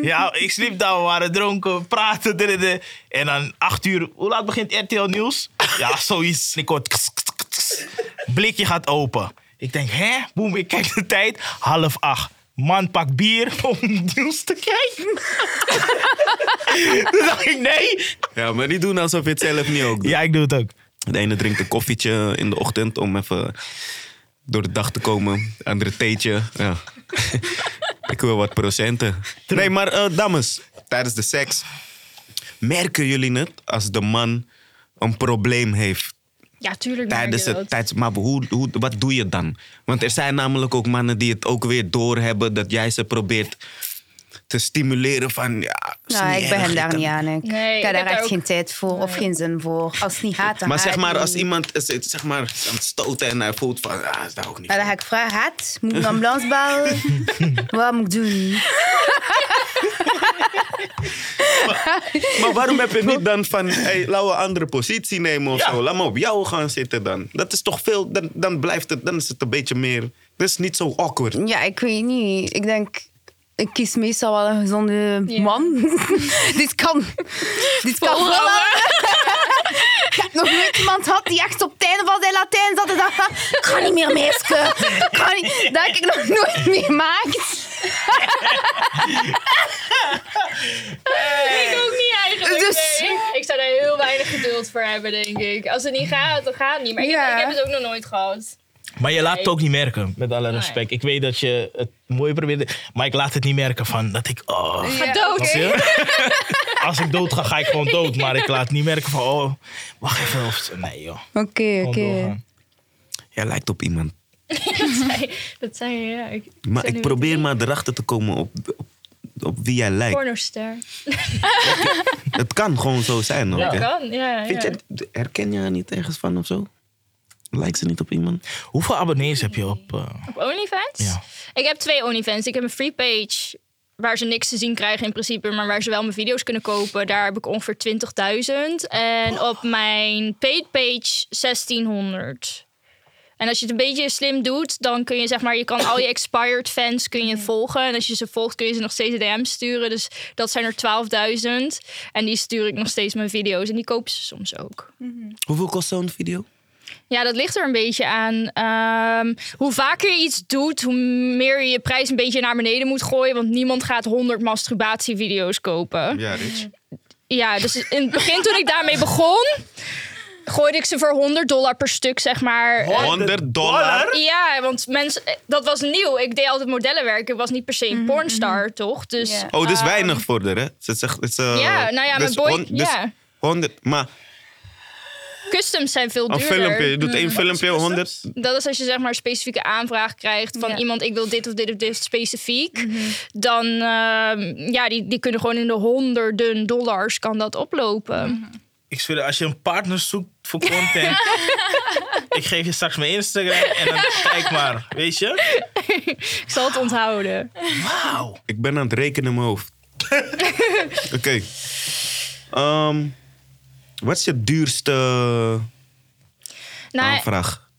Speaker 2: ja, ik sliep daar. We waren dronken, we praten. dit, dit, dit. En dan acht uur. Hoe laat begint RTL Nieuws? ja, zoiets. En Ik hoor... tss, tss, tss. Blikje gaat open. Ik denk, hè? Boem, ik kijk de tijd. Half acht. Man pakt bier om nieuws te kijken. Toen dacht ik, nee.
Speaker 4: Ja, maar niet doen alsof je het zelf niet ook doet.
Speaker 2: Ja, ik doe het ook.
Speaker 4: De ene drinkt een koffietje in de ochtend om even door de dag te komen. De andere theetje. Ja. ik wil wat procenten. Nee, maar eh, dames, tijdens de seks merken jullie het als de man een probleem heeft
Speaker 6: Ja, tuurlijk. merk
Speaker 4: tijdens
Speaker 6: je
Speaker 4: het
Speaker 6: dat.
Speaker 4: tijdens, Maar hoe, hoe, wat doe je dan? Want er zijn namelijk ook mannen die het ook weer doorhebben dat jij ze probeert te stimuleren van ja. is
Speaker 3: Nou,
Speaker 4: niet
Speaker 3: ik ben
Speaker 4: erg,
Speaker 3: hem
Speaker 4: je
Speaker 3: daar
Speaker 4: kan-
Speaker 3: niet aan. Ik,
Speaker 6: Nee,
Speaker 3: ik heb
Speaker 6: ik heb
Speaker 3: daar
Speaker 6: daar
Speaker 3: echt
Speaker 6: ook-
Speaker 3: geen tijd voor of geen zin voor. Als het niet gaat, dan
Speaker 4: Maar
Speaker 3: gaat
Speaker 4: zeg
Speaker 3: het
Speaker 4: maar, als
Speaker 3: niet.
Speaker 4: iemand is, het, zeg maar is aan het stoten en hij voelt van ah, is daar ook niet.
Speaker 3: Nou, dan ga ik vragen, haat, moet ik een ambulance bellen? Wat moet ik doen?
Speaker 4: Maar waarom heb je niet dan van, hey, laten we een andere positie nemen of
Speaker 2: Ja.
Speaker 4: zo. Laat me op jou gaan zitten dan. Dat is toch veel, dan, dan blijft het, dan is het een beetje meer, dat is niet zo awkward.
Speaker 3: Ja, ik weet niet. Ik denk, ik kies meestal wel een gezonde man. Dit kan. Dit kan
Speaker 6: Oh,
Speaker 3: volhouden. Ik heb nog nooit iemand gehad die echt op het einde van zijn Latijn zat en dacht van... Ik ga niet meer, meisje. Ik ga niet... Dat heb ik nog nooit meegemaakt.
Speaker 6: Ik ook niet eigenlijk.
Speaker 3: Dus-
Speaker 6: nee. Ik zou daar heel weinig geduld voor hebben, denk ik. Als het niet gaat, dan gaat het niet. Maar ik,
Speaker 3: Ja.
Speaker 6: ik heb het ook nog nooit gehad.
Speaker 2: Maar je laat het ook niet merken, met alle respect. Ik weet dat je het mooi probeert, maar ik laat het niet merken van dat ik... Oh,
Speaker 6: Ga dood.
Speaker 2: Snap je? Als ik dood ga, ga ik gewoon dood. Maar ik laat niet merken van, oh, wacht even. Of, nee joh,
Speaker 3: Oké,
Speaker 2: gewoon
Speaker 3: oké.
Speaker 2: doorgaan.
Speaker 4: Jij lijkt op iemand.
Speaker 6: Dat zei je, ja. Ik,
Speaker 4: Maar ik probeer maar erachter te komen op, op, op wie jij lijkt.
Speaker 6: Pornoster.
Speaker 4: Het kan gewoon zo zijn. hoor.
Speaker 6: Dat
Speaker 4: hè?
Speaker 6: kan, ja.
Speaker 4: Vind
Speaker 6: ja.
Speaker 4: je, herken je haar niet ergens van of zo? Lijkt ze niet op iemand?
Speaker 2: Hoeveel abonnees heb je op... eh,
Speaker 6: Op OnlyFans?
Speaker 2: Ja.
Speaker 6: Ik heb twee OnlyFans. Ik heb een free page waar ze niks te zien krijgen in principe, maar waar ze wel mijn video's kunnen kopen. Daar heb ik ongeveer 20.000. En op mijn paid page 1600. En als je het een beetje slim doet, dan kun je zeg maar, je kan al je expired fans kun je volgen. En als je ze volgt, kun je ze nog steeds DM's sturen. Dus dat zijn er 12.000. En die stuur ik nog steeds mijn video's. En die kopen ze soms ook.
Speaker 4: Hoeveel kost zo'n video?
Speaker 6: Ja, dat ligt er een beetje aan. ehm, hoe vaker je iets doet, hoe meer je je prijs een beetje naar beneden moet gooien. Want niemand gaat 100 masturbatievideo's kopen.
Speaker 4: Ja, Rich.
Speaker 6: Ja, dus in het begin toen ik daarmee begon, gooide ik ze voor 100 dollar per stuk, zeg maar.
Speaker 4: 100 dollar?
Speaker 6: Ja, want mensen, dat was nieuw. Ik deed altijd modellenwerk. Ik was niet per se een pornstar, toch? Dus
Speaker 3: Ja.
Speaker 4: Oh, dat is weinig voor haar, hè? Ze zegt, het is, eh,
Speaker 6: Ja, nou ja,
Speaker 4: dus
Speaker 6: mijn boy-
Speaker 4: hon- dus
Speaker 6: ja.
Speaker 4: 100, maar
Speaker 6: customs zijn veel
Speaker 4: een
Speaker 6: duurder. Mm,
Speaker 4: filmpje, je doet één filmpje, 100.
Speaker 6: Dat is als je zeg maar een specifieke aanvraag krijgt van
Speaker 3: Ja.
Speaker 6: iemand, ik wil dit of dit of dit specifiek. Dan ehm, ja, die, die kunnen gewoon in de honderden dollars kan dat oplopen.
Speaker 2: Ik zweer, als je een partner zoekt voor content. ik geef je straks mijn Instagram en dan kijk maar, weet je?
Speaker 6: Ik zal het onthouden.
Speaker 2: Wauw.
Speaker 4: Ik ben aan het rekenen in mijn hoofd. Oké. Ehm, wat is je duurste eh,
Speaker 6: Nou,
Speaker 4: aanvraag?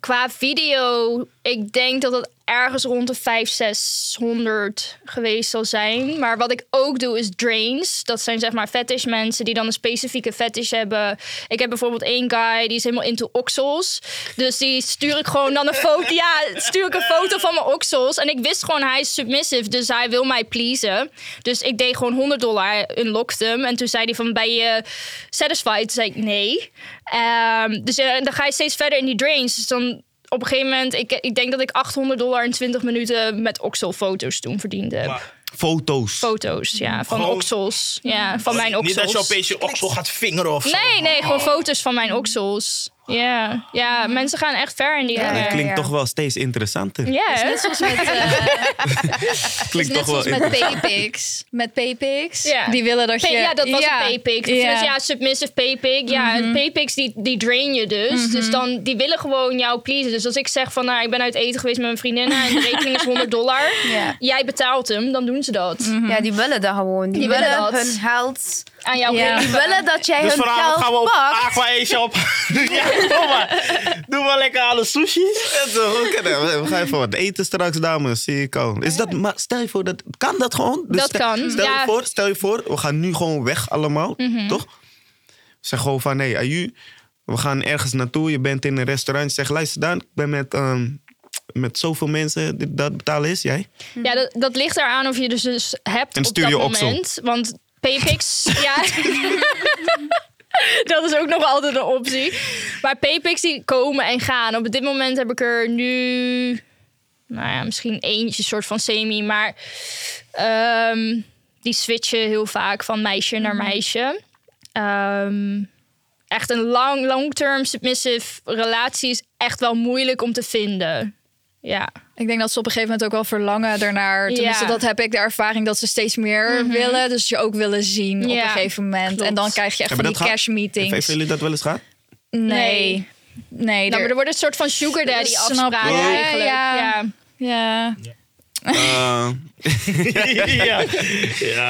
Speaker 6: qua video, ik denk dat dat ergens rond de 500, 600 geweest zal zijn. Maar wat ik ook doe is drains. Dat zijn zeg maar fetish mensen die dan een specifieke fetish hebben. Ik heb bijvoorbeeld één guy die is helemaal into oksels. Dus die stuur ik gewoon dan een foto. Ja, stuur ik een foto van mijn oksels. En ik wist gewoon hij is submissive, dus hij wil mij pleasen. Dus ik deed gewoon 100 dollar, unlocked hem. En toen zei hij van, ben je satisfied? Toen zei ik, nee. Ehm, dus eh, dan ga je steeds verder in die drains. Dus dan op een gegeven moment, ik, ik denk dat ik 800 dollar in 20 minuten met okselfoto's toen verdiende. heb.
Speaker 2: Maar-
Speaker 4: Foto's.
Speaker 6: foto's, ja, van
Speaker 2: Gewoon-
Speaker 6: oksels. Ja, van mijn oksels.
Speaker 2: Niet dat je opeens je oksel gaat vingeren of zo.
Speaker 6: Nee, nee, gewoon foto's van mijn oksels. Ja, ja, mensen gaan echt ver in die
Speaker 3: Ja,
Speaker 4: Dat
Speaker 6: dingen.
Speaker 4: klinkt
Speaker 3: ja.
Speaker 4: toch wel steeds interessanter.
Speaker 6: Ja, hè?
Speaker 1: Net zoals met, eh
Speaker 4: Klinkt
Speaker 1: net
Speaker 4: toch wel
Speaker 1: zoals met
Speaker 4: interessanter.
Speaker 1: paypics. Met paypics.
Speaker 6: Ja.
Speaker 1: Die willen dat je...
Speaker 6: Pay- ja, dat was
Speaker 1: Ja.
Speaker 6: een paypig.
Speaker 1: Ja. Mhm.
Speaker 6: Ja. ja, submissive paypig. Ja, en paypigs die, die drain je dus. Dus dan, die willen gewoon jou pleasen. Dus als ik zeg van, nou, ik ben uit eten geweest met mijn vriendinnen... en de rekening is 100 dollar.
Speaker 3: Ja.
Speaker 6: Jij betaalt hem, dan doen ze dat.
Speaker 1: Mhm.
Speaker 3: Ja, die willen dat gewoon. Mhm. Die,
Speaker 6: Die willen
Speaker 3: willen
Speaker 6: dat.
Speaker 3: hun geld.
Speaker 6: Aan jou
Speaker 1: Ja.
Speaker 3: Die
Speaker 6: geven.
Speaker 3: willen dat jij
Speaker 2: Dus
Speaker 3: hun
Speaker 2: vanavond
Speaker 3: geld
Speaker 2: gaan we op
Speaker 3: pakt.
Speaker 2: Aqua Ace op. ja, kom maar. Doe maar lekker alle sushi.
Speaker 4: Ja, toch? Oké, nou, We we gaan even wat eten straks, dames. Zie ik al. Is dat, maar stel je voor, dat, kan dat gewoon? Dus
Speaker 6: Dat
Speaker 4: stel-
Speaker 6: kan,
Speaker 4: Stel,
Speaker 6: ja.
Speaker 4: je voor, stel je voor, we gaan nu gewoon weg allemaal, toch? Zeg gewoon van, hé, hey, Ayu, we gaan ergens naartoe. Je bent in een restaurant. Zeg, luister dan, ik ben met, ehm, met zoveel mensen. Dit, dat betalen is jij.
Speaker 6: Ja, dat, dat ligt eraan of je dus, dus hebt
Speaker 4: En
Speaker 6: op
Speaker 4: stuur
Speaker 6: dat
Speaker 4: je oksel.
Speaker 6: moment. Want Paypix, ja... dat is ook nog altijd een optie. Maar Paypix die komen en gaan. Op dit moment heb ik er nu... Nou ja, misschien eentje soort van semi. Maar ehm, die switchen heel vaak van meisje naar meisje. Ehm, echt een lang, long-term submissive relatie is echt wel moeilijk om te vinden. Ja.
Speaker 1: Ik denk dat ze op een gegeven moment ook wel verlangen daarnaar. Tenminste,
Speaker 6: Ja.
Speaker 1: dat heb ik de ervaring dat ze steeds meer willen. Dus je ook willen zien op
Speaker 6: Ja,
Speaker 1: een gegeven moment.
Speaker 6: klopt.
Speaker 1: En dan krijg je echt
Speaker 4: Hebben
Speaker 1: van
Speaker 4: dat
Speaker 1: die
Speaker 4: gehad?
Speaker 1: cash meetings.
Speaker 4: Hebben jullie dat wel eens gehad?
Speaker 1: Nee. Nee,
Speaker 6: Nou, maar er
Speaker 1: er-
Speaker 6: wordt een soort van sugar daddy
Speaker 1: Snap
Speaker 6: afspraak
Speaker 1: ik.
Speaker 6: eigenlijk.
Speaker 1: Ja,
Speaker 6: Ja.
Speaker 1: ja. ja.
Speaker 4: Eh,
Speaker 2: ja.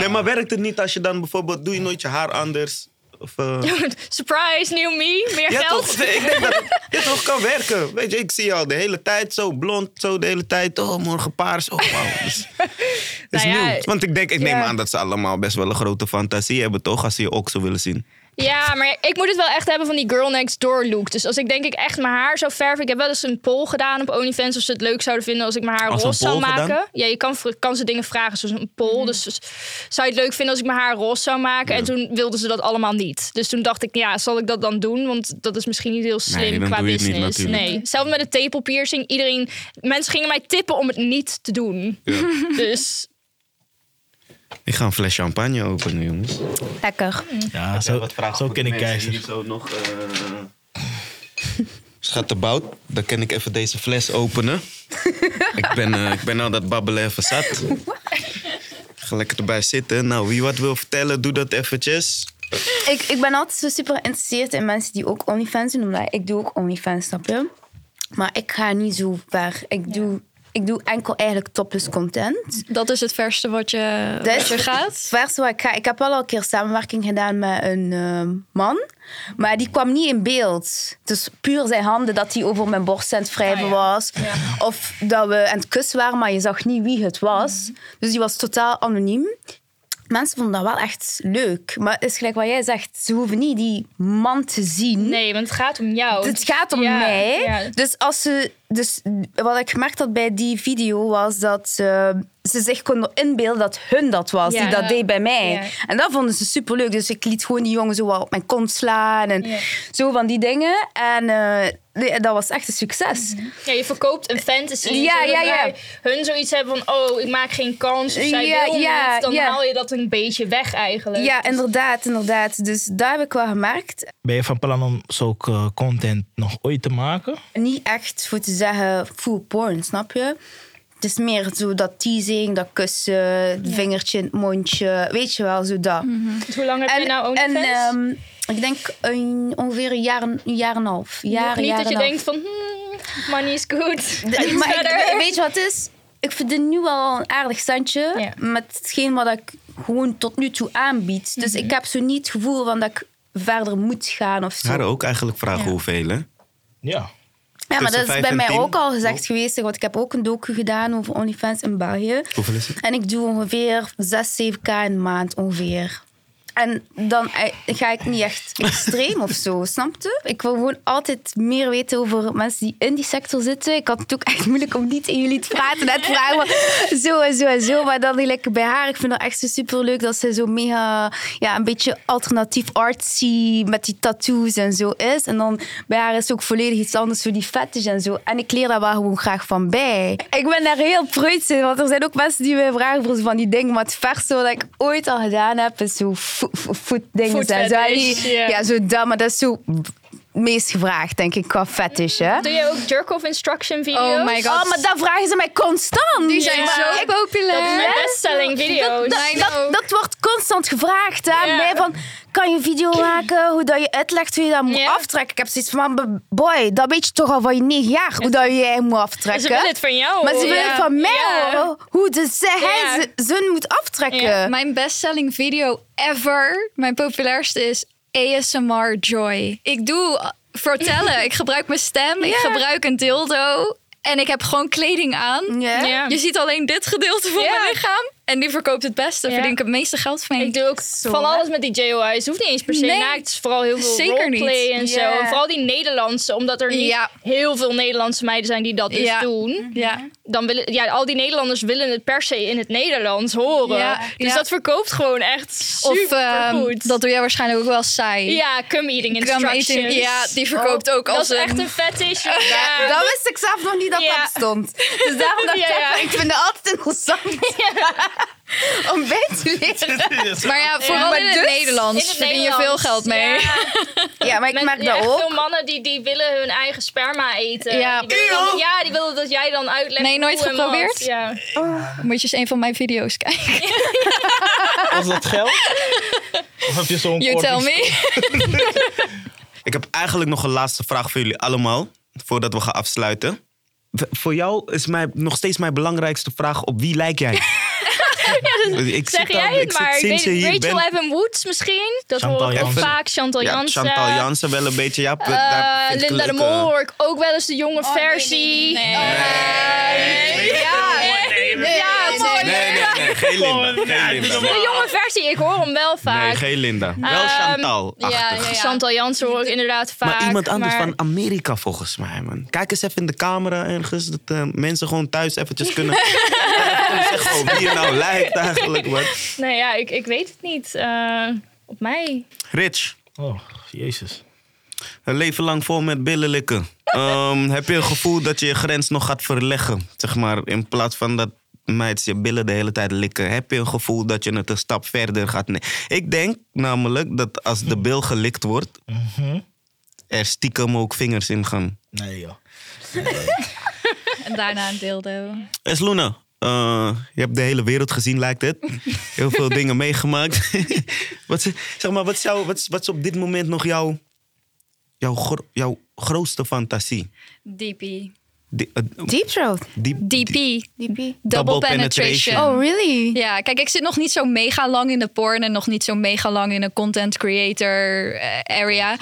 Speaker 4: Nee, maar werkt het niet als je dan bijvoorbeeld... Doe je nooit je haar anders? Of, eh,
Speaker 6: Surprise, new me, meer
Speaker 4: Ja,
Speaker 6: geld.
Speaker 4: toch? Ik denk dat het ja, toch kan werken. Weet je, ik zie je al de hele tijd zo blond, zo de hele tijd. Oh, morgen paars. Oh, wauw. Dat is, dat is
Speaker 6: Nou ja,
Speaker 4: nieuw. Want ik denk, ik neem
Speaker 6: ja.
Speaker 4: aan dat ze allemaal best wel een grote fantasie hebben, toch? Als ze je ook zo willen zien.
Speaker 6: Ja, maar ik moet het wel echt hebben van die girl next door look. Dus als ik denk ik echt mijn haar zou verven. Ik heb wel eens een poll gedaan op OnlyFans of ze het leuk zouden vinden als ik mijn haar
Speaker 4: Als een
Speaker 6: roze zou
Speaker 4: poll
Speaker 6: maken.
Speaker 4: gedaan?
Speaker 6: Ja, je kan, vr- kan ze dingen vragen, zoals een poll.
Speaker 1: Mhm.
Speaker 6: Dus dus zou je het leuk vinden als ik mijn haar roze zou maken? En toen wilden ze dat allemaal niet. Dus toen dacht ik, ja, zal ik dat dan doen? Want dat is misschien niet heel slim
Speaker 4: dan
Speaker 6: qua
Speaker 4: doe je het niet
Speaker 6: business.
Speaker 4: natuurlijk.
Speaker 6: nee, zelf met de tepelpiercing. Iedereen, mensen gingen mij tippen om het niet te doen. Dus
Speaker 4: Ik ga een fles champagne openen, jongens.
Speaker 3: Lekker.
Speaker 2: Ja, zo, zo ken ik keizer.
Speaker 4: zo nog. eh, Schat de bout, dan kan ik even deze fles openen. ik, ben, eh, ik ben al dat babbelen even zat. Ik ga lekker erbij zitten. Nou, wie wat wil vertellen, doe dat eventjes.
Speaker 3: Ik, ik ben altijd zo super geïnteresseerd in mensen die ook OnlyFans doen. Omdat ik doe ook OnlyFans, snap je? Maar ik ga niet zo ver. Ik, doe, ik doe enkel eigenlijk topless content.
Speaker 1: Dat is het verste wat je,
Speaker 3: Dat
Speaker 1: wat je gaat.
Speaker 3: Vers waar ik ga. Ik heb wel al een keer samenwerking gedaan met een eh, man. Maar die kwam niet in beeld. Dus puur zijn handen dat hij over mijn borst aan het wrijven was. Of dat we aan het kussen waren, maar je zag niet wie het was. Dus die was totaal anoniem. Mensen vonden dat wel echt leuk. Maar het is gelijk wat jij zegt. Ze hoeven niet die man te zien.
Speaker 6: nee, want het gaat om jou.
Speaker 3: Het gaat om
Speaker 6: Oh, Ja,
Speaker 3: mij.
Speaker 6: ja.
Speaker 3: Dus, als ze, dus wat ik gemerkt had bij die video was dat eh, ze zich konden inbeelden dat hun dat was,
Speaker 6: Ja.
Speaker 3: die dat
Speaker 6: Ja.
Speaker 3: deed bij mij.
Speaker 6: Ja.
Speaker 3: En dat vonden ze superleuk. Dus ik liet gewoon die jongen zo wel op mijn kont slaan en
Speaker 6: Ja.
Speaker 3: zo van die dingen. En eh, nee, dat was echt een succes.
Speaker 6: Ja, je verkoopt een fantasy.
Speaker 3: Ja,
Speaker 6: zodat
Speaker 3: ja, ja.
Speaker 6: wij Hun zoiets hebben van, oh, ik maak geen kans. Of zij
Speaker 3: Ja,
Speaker 6: wil
Speaker 3: ja,
Speaker 6: niet. Dan
Speaker 3: ja.
Speaker 6: haal je dat een beetje weg eigenlijk.
Speaker 3: Ja, inderdaad, inderdaad. Dus daar heb ik wel gemerkt.
Speaker 2: Ben je van plan om zulke eh, content nog ooit te maken?
Speaker 3: Niet echt voor te zeggen full porn, snap je? Het is meer zo dat teasing, dat kussen, het vingertje in het mondje. Weet je wel, zo dat.
Speaker 6: Want Hoe lang heb je nou
Speaker 3: en
Speaker 6: OnlyFans?
Speaker 3: ehm, ik denk een, ongeveer een jaar, een jaar en een half.
Speaker 6: Nog
Speaker 3: Jaar,
Speaker 6: niet
Speaker 3: jaar
Speaker 6: dat je
Speaker 3: en een
Speaker 6: denkt van, hmm, money is good.
Speaker 3: half.
Speaker 6: Iets
Speaker 3: De- maar
Speaker 6: verder.
Speaker 3: ik, weet je wat het is? Ik verdien nu al een aardig centje
Speaker 6: Ja.
Speaker 3: met hetgeen wat ik gewoon tot nu toe aanbied. Dus
Speaker 6: Mhm.
Speaker 3: ik heb zo niet het gevoel van dat ik verder moet gaan of zo.
Speaker 4: Haar ook eigenlijk vragen hoeveel, hè?
Speaker 2: Ja.
Speaker 3: ja, maar
Speaker 4: tussen
Speaker 3: dat is
Speaker 4: vijf
Speaker 3: bij
Speaker 4: en
Speaker 3: mij
Speaker 4: tien. Oh.
Speaker 3: ook al gezegd geweest. Want ik heb ook een docu gedaan over OnlyFans in België.
Speaker 4: Hoeveel is het?
Speaker 3: En ik doe ongeveer 6, 7k een maand ongeveer. En dan eh, ga ik niet echt extreem of zo, snap je? Ik wil gewoon altijd meer weten over mensen die in die sector zitten. Ik had het ook echt moeilijk om niet in jullie te praten. Net vragen maar zo en zo en zo. Maar dan lekker bij haar. Ik vind het echt zo superleuk dat ze zo mega... Ja, een beetje alternatief artsy met die tattoos en zo is. En dan bij haar is ook volledig iets anders voor die fetish en zo. En ik leer daar wel gewoon graag van bij. Ik ben daar heel preuts in, want er zijn ook mensen die mij vragen voor zo van die dingen. Maar het verste wat ik ooit al gedaan heb, is zo fo- fo- voetdingen.
Speaker 6: Food
Speaker 3: en zo. En die-
Speaker 6: fetish, ja.
Speaker 3: Ja, zo dat, maar dat is zo het meest gevraagd, denk ik, qua fetish, hè?
Speaker 1: Mm,
Speaker 6: Doe je ook jerk-off instruction video's?
Speaker 1: Oh my god.
Speaker 3: Oh, maar dat vragen ze mij constant.
Speaker 1: Die zijn
Speaker 6: Ja.
Speaker 1: zo
Speaker 3: Ik-
Speaker 1: populair.
Speaker 6: Dat is mijn bestselling video's.
Speaker 3: dat, dat,
Speaker 1: I
Speaker 3: dat,
Speaker 1: know.
Speaker 3: dat wordt constant gevraagd aan
Speaker 6: Nou. Ja.
Speaker 3: mij van kan je een video maken hoe dat je uitlegt hoe je dat moet
Speaker 6: Ja.
Speaker 3: aftrekken. Ik heb zoiets van maar boy, dat weet je toch al van je negen jaar hoe dat jij moet aftrekken.
Speaker 6: Ze willen het van jou.
Speaker 3: maar ze willen
Speaker 6: Ja.
Speaker 3: van mij
Speaker 6: Ja.
Speaker 3: horen hoe de, ze, hij
Speaker 6: Ja.
Speaker 3: ze- ze moet aftrekken.
Speaker 6: Ja.
Speaker 1: Mijn bestselling video ever, mijn populairste is ASMR Joy. Ik doe vertellen, ik gebruik mijn stem, ik
Speaker 3: Ja.
Speaker 1: gebruik een dildo en ik heb gewoon kleding aan.
Speaker 3: Ja.
Speaker 6: Ja.
Speaker 1: Je ziet alleen dit gedeelte van
Speaker 6: Ja.
Speaker 1: mijn lichaam en die verkoopt het beste,
Speaker 6: Ja.
Speaker 1: verdien ik het meeste geld van.
Speaker 6: Ik doe ook
Speaker 3: Zo,
Speaker 6: van
Speaker 3: hè?
Speaker 6: alles met die JOI's. Hoeft niet eens per se
Speaker 1: Nee.
Speaker 6: naakt. Het is vooral heel veel
Speaker 1: Zeker niet.
Speaker 6: roleplay en zo.
Speaker 3: Ja.
Speaker 6: En vooral die Nederlandse. Omdat er niet
Speaker 1: Ja.
Speaker 6: heel veel Nederlandse meiden zijn die dat dus
Speaker 1: Ja. Mhm.
Speaker 6: doen.
Speaker 1: Ja.
Speaker 6: Dan willen, ja, al die Nederlanders willen het per se in het Nederlands horen.
Speaker 1: Ja,
Speaker 6: Dus
Speaker 1: ja.
Speaker 6: dat verkoopt gewoon echt
Speaker 1: Of
Speaker 6: supergoed.
Speaker 1: ehm, dat doe jij waarschijnlijk ook wel saai.
Speaker 6: Ja, cum eating
Speaker 1: Crumb
Speaker 6: instructions. Oh,
Speaker 1: eten, ja, die verkoopt ook
Speaker 6: dat
Speaker 1: als
Speaker 6: is
Speaker 1: een...
Speaker 6: echt een fetish. Ja.
Speaker 3: Dat wist ik zelf nog niet dat
Speaker 6: Ja.
Speaker 3: dat bestond. Dus daarom dacht
Speaker 6: Ja, ja.
Speaker 3: ik, ik vind het altijd interessant. om bij te leren.
Speaker 1: Maar ja, vooral
Speaker 3: Maar
Speaker 1: in het
Speaker 3: dus-
Speaker 1: Nederlands
Speaker 6: In het
Speaker 1: verdien je
Speaker 6: Nederlands.
Speaker 1: veel geld mee.
Speaker 6: Ja,
Speaker 3: Ja, maar ik
Speaker 6: men-
Speaker 3: merk
Speaker 6: ja,
Speaker 3: dat
Speaker 6: echt
Speaker 3: ook.
Speaker 6: Veel mannen die, die willen hun eigen sperma eten.
Speaker 1: Ja.
Speaker 6: die willen, dan- ja, die willen dat jij dan uitlegt.
Speaker 1: Nee, nooit
Speaker 6: hoe en wat.
Speaker 1: geprobeerd?
Speaker 6: Ja.
Speaker 1: Moet je eens een van mijn video's kijken.
Speaker 2: Of dat geld? Of heb je zo'n
Speaker 1: You tell
Speaker 2: korting?
Speaker 1: me.
Speaker 4: Ik heb eigenlijk nog een laatste vraag voor jullie allemaal, voordat we gaan afsluiten. V- voor jou is mij, nog steeds mijn belangrijkste vraag: op wie lijk jij? ik
Speaker 6: Zeg
Speaker 4: zit al-
Speaker 6: jij het
Speaker 4: ik zit
Speaker 6: maar. Ik
Speaker 4: sinds je
Speaker 6: weet-
Speaker 4: hier
Speaker 6: Rachel
Speaker 4: bent-
Speaker 6: Evan Woods misschien. Dat
Speaker 2: Chantal
Speaker 6: hoor ik ook
Speaker 2: Jansen.
Speaker 6: vaak. Chantal
Speaker 4: ja,
Speaker 6: Jansen.
Speaker 4: Chantal Jansen wel een beetje. Ja, p-
Speaker 6: Eh,
Speaker 4: daar vind ik
Speaker 6: Linda de
Speaker 4: leuk, eh,
Speaker 6: Mol hoor ik ook wel eens de jonge versie. Oh,
Speaker 1: Ja,
Speaker 6: Ja, sorry.
Speaker 4: Nee, nee, nee, geen
Speaker 6: Oh,
Speaker 4: Linda. Geen
Speaker 6: De
Speaker 4: Linda.
Speaker 6: jonge versie, ik hoor hem wel
Speaker 4: Nee,
Speaker 6: vaak.
Speaker 4: geen Linda. Wel
Speaker 6: Ehm,
Speaker 4: Chantal.
Speaker 1: ja, ja.
Speaker 6: Chantal Jansen hoor ik inderdaad vaak.
Speaker 4: Maar iemand anders
Speaker 6: maar-
Speaker 4: van Amerika volgens mij, man. Kijk eens even in de camera ergens. Dat eh, mensen gewoon thuis eventjes kunnen eh, kunnen zeggen oh, wie je nou lijkt eigenlijk, man.
Speaker 6: Nee, ja, ik, ik weet het niet. Eh, op mij.
Speaker 4: Rich,
Speaker 2: Oh, jezus.
Speaker 4: een leven lang vol met billen likken. Ehm, heb je een gevoel dat je je grens nog gaat verleggen? Zeg maar, in plaats van dat meids je billen de hele tijd likken. Heb je een gevoel dat je het een stap verder gaat nemen? Ik denk namelijk dat als de bil gelikt wordt... er stiekem ook vingers in gaan.
Speaker 2: Nee, joh.
Speaker 1: En daarna een dildo.
Speaker 4: Es Luna, eh, je hebt de hele wereld gezien, lijkt het. Heel veel dingen meegemaakt. wat, ze- zeg maar, wat, zou, wat, is- wat is op dit moment nog jouw, jouw, gro- jouw grootste fantasie?
Speaker 1: DP.
Speaker 4: Die- eh,
Speaker 3: Deep throat.
Speaker 4: die-
Speaker 1: DP.
Speaker 3: Double
Speaker 1: Double,
Speaker 4: penetration.
Speaker 1: penetration.
Speaker 3: Oh, really?
Speaker 1: Ja, kijk, ik zit nog niet zo mega lang in de porn en nog niet zo mega lang in een content creator eh, area.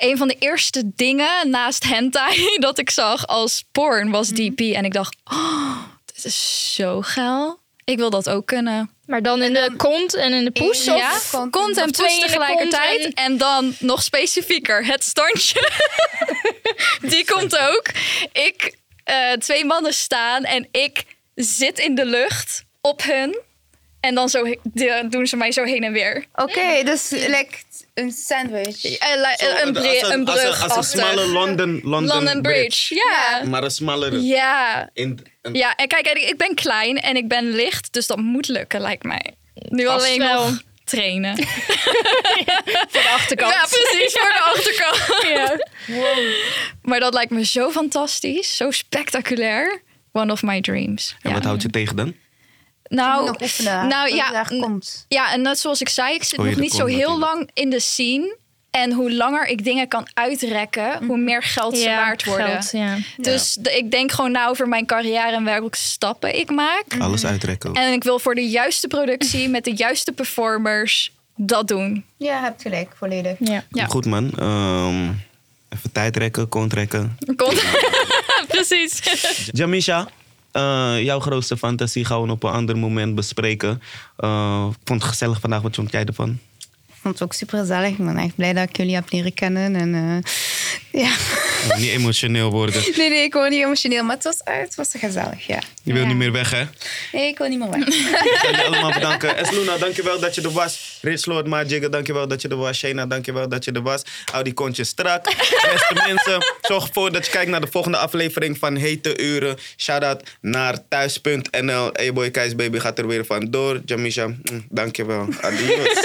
Speaker 1: Een van de eerste dingen naast hentai dat ik zag als porn was DP. En ik dacht, oh, dit is zo geil. Ik wil dat ook kunnen.
Speaker 6: Maar dan in de kont en in de poes.
Speaker 3: Ja.
Speaker 6: of-
Speaker 1: Of kont en
Speaker 6: of twee
Speaker 1: poes
Speaker 6: in de
Speaker 1: tegelijkertijd.
Speaker 6: kont
Speaker 1: En... dan nog specifieker, het standje. Die komt ook. Ik, eh, twee mannen staan en ik zit in de lucht op hun. En dan zo, he- de- doen ze mij zo heen en weer.
Speaker 3: Oké, dus like een sandwich.
Speaker 1: Eh, li- eh, een, bre-
Speaker 4: als
Speaker 1: een
Speaker 4: als
Speaker 1: brug
Speaker 4: als een smalle London, London,
Speaker 1: London Bridge. Ja.
Speaker 4: Maar een smallere.
Speaker 1: Ja.
Speaker 4: In, een-
Speaker 1: ja. En kijk, en ik ik ben klein en ik ben licht. Dus dat moet lukken, lijkt mij. Nu
Speaker 6: Vast
Speaker 1: alleen
Speaker 6: wel.
Speaker 1: nog trainen.
Speaker 6: de achterkant.
Speaker 1: Ja, precies, voor de achterkant.
Speaker 6: Ja.
Speaker 1: Maar dat lijkt me zo fantastisch, zo spectaculair. One of my dreams.
Speaker 4: En
Speaker 1: Ja.
Speaker 4: wat houdt je tegen dan?
Speaker 1: Nou,
Speaker 3: nog oefenen.
Speaker 1: nou
Speaker 3: dat het
Speaker 1: ja,
Speaker 3: daar komt.
Speaker 1: ja, en net zoals ik zei, ik zit
Speaker 4: Oh, ja,
Speaker 1: nog
Speaker 4: dat
Speaker 1: niet zo
Speaker 4: komt
Speaker 1: heel
Speaker 4: natuurlijk.
Speaker 1: lang in de scene. En hoe langer ik dingen kan uitrekken, hoe meer geld ze
Speaker 6: Mhm. Ja,
Speaker 1: waard worden.
Speaker 6: geld, ja.
Speaker 1: Dus de- ik denk gewoon na over mijn carrière en welke stappen ik maak.
Speaker 4: Alles uitrekken.
Speaker 1: En ik wil voor de juiste productie met de juiste performers dat doen.
Speaker 3: Ja, hebt gelijk, volledig.
Speaker 6: Ja.
Speaker 1: ja.
Speaker 4: Goed man. Ehm, even tijd rekken, kont rekken.
Speaker 1: Komt. Precies.
Speaker 4: Jamisha, eh, jouw grootste fantasie gaan we op een ander moment bespreken. Eh, ik vond het gezellig vandaag. Wat vond jij ervan?
Speaker 3: Ik vond het ook super gezellig. Ik ben echt blij dat ik jullie heb leren kennen. En, eh, ja.
Speaker 4: Oh, niet emotioneel worden.
Speaker 3: Nee, nee, ik word niet emotioneel, maar het was, eh, het was gezellig, ja.
Speaker 4: Je wil niet meer weg, hè?
Speaker 3: Nee, ik wil niet meer weg.
Speaker 4: Ik wil je allemaal bedanken. Esluna, dankjewel dat je er was. Rich Lord Majigger, dankjewel dat je er was. Shayna, dankjewel dat je er was. Hou die kontjes strak. Beste mensen, zorg ervoor dat je kijkt naar de volgende aflevering van Hete Uren. Shout-out naar thuis.nl. Hey boy, Keis Baby gaat er weer van door. Jamisha, mm, dankjewel. Adios.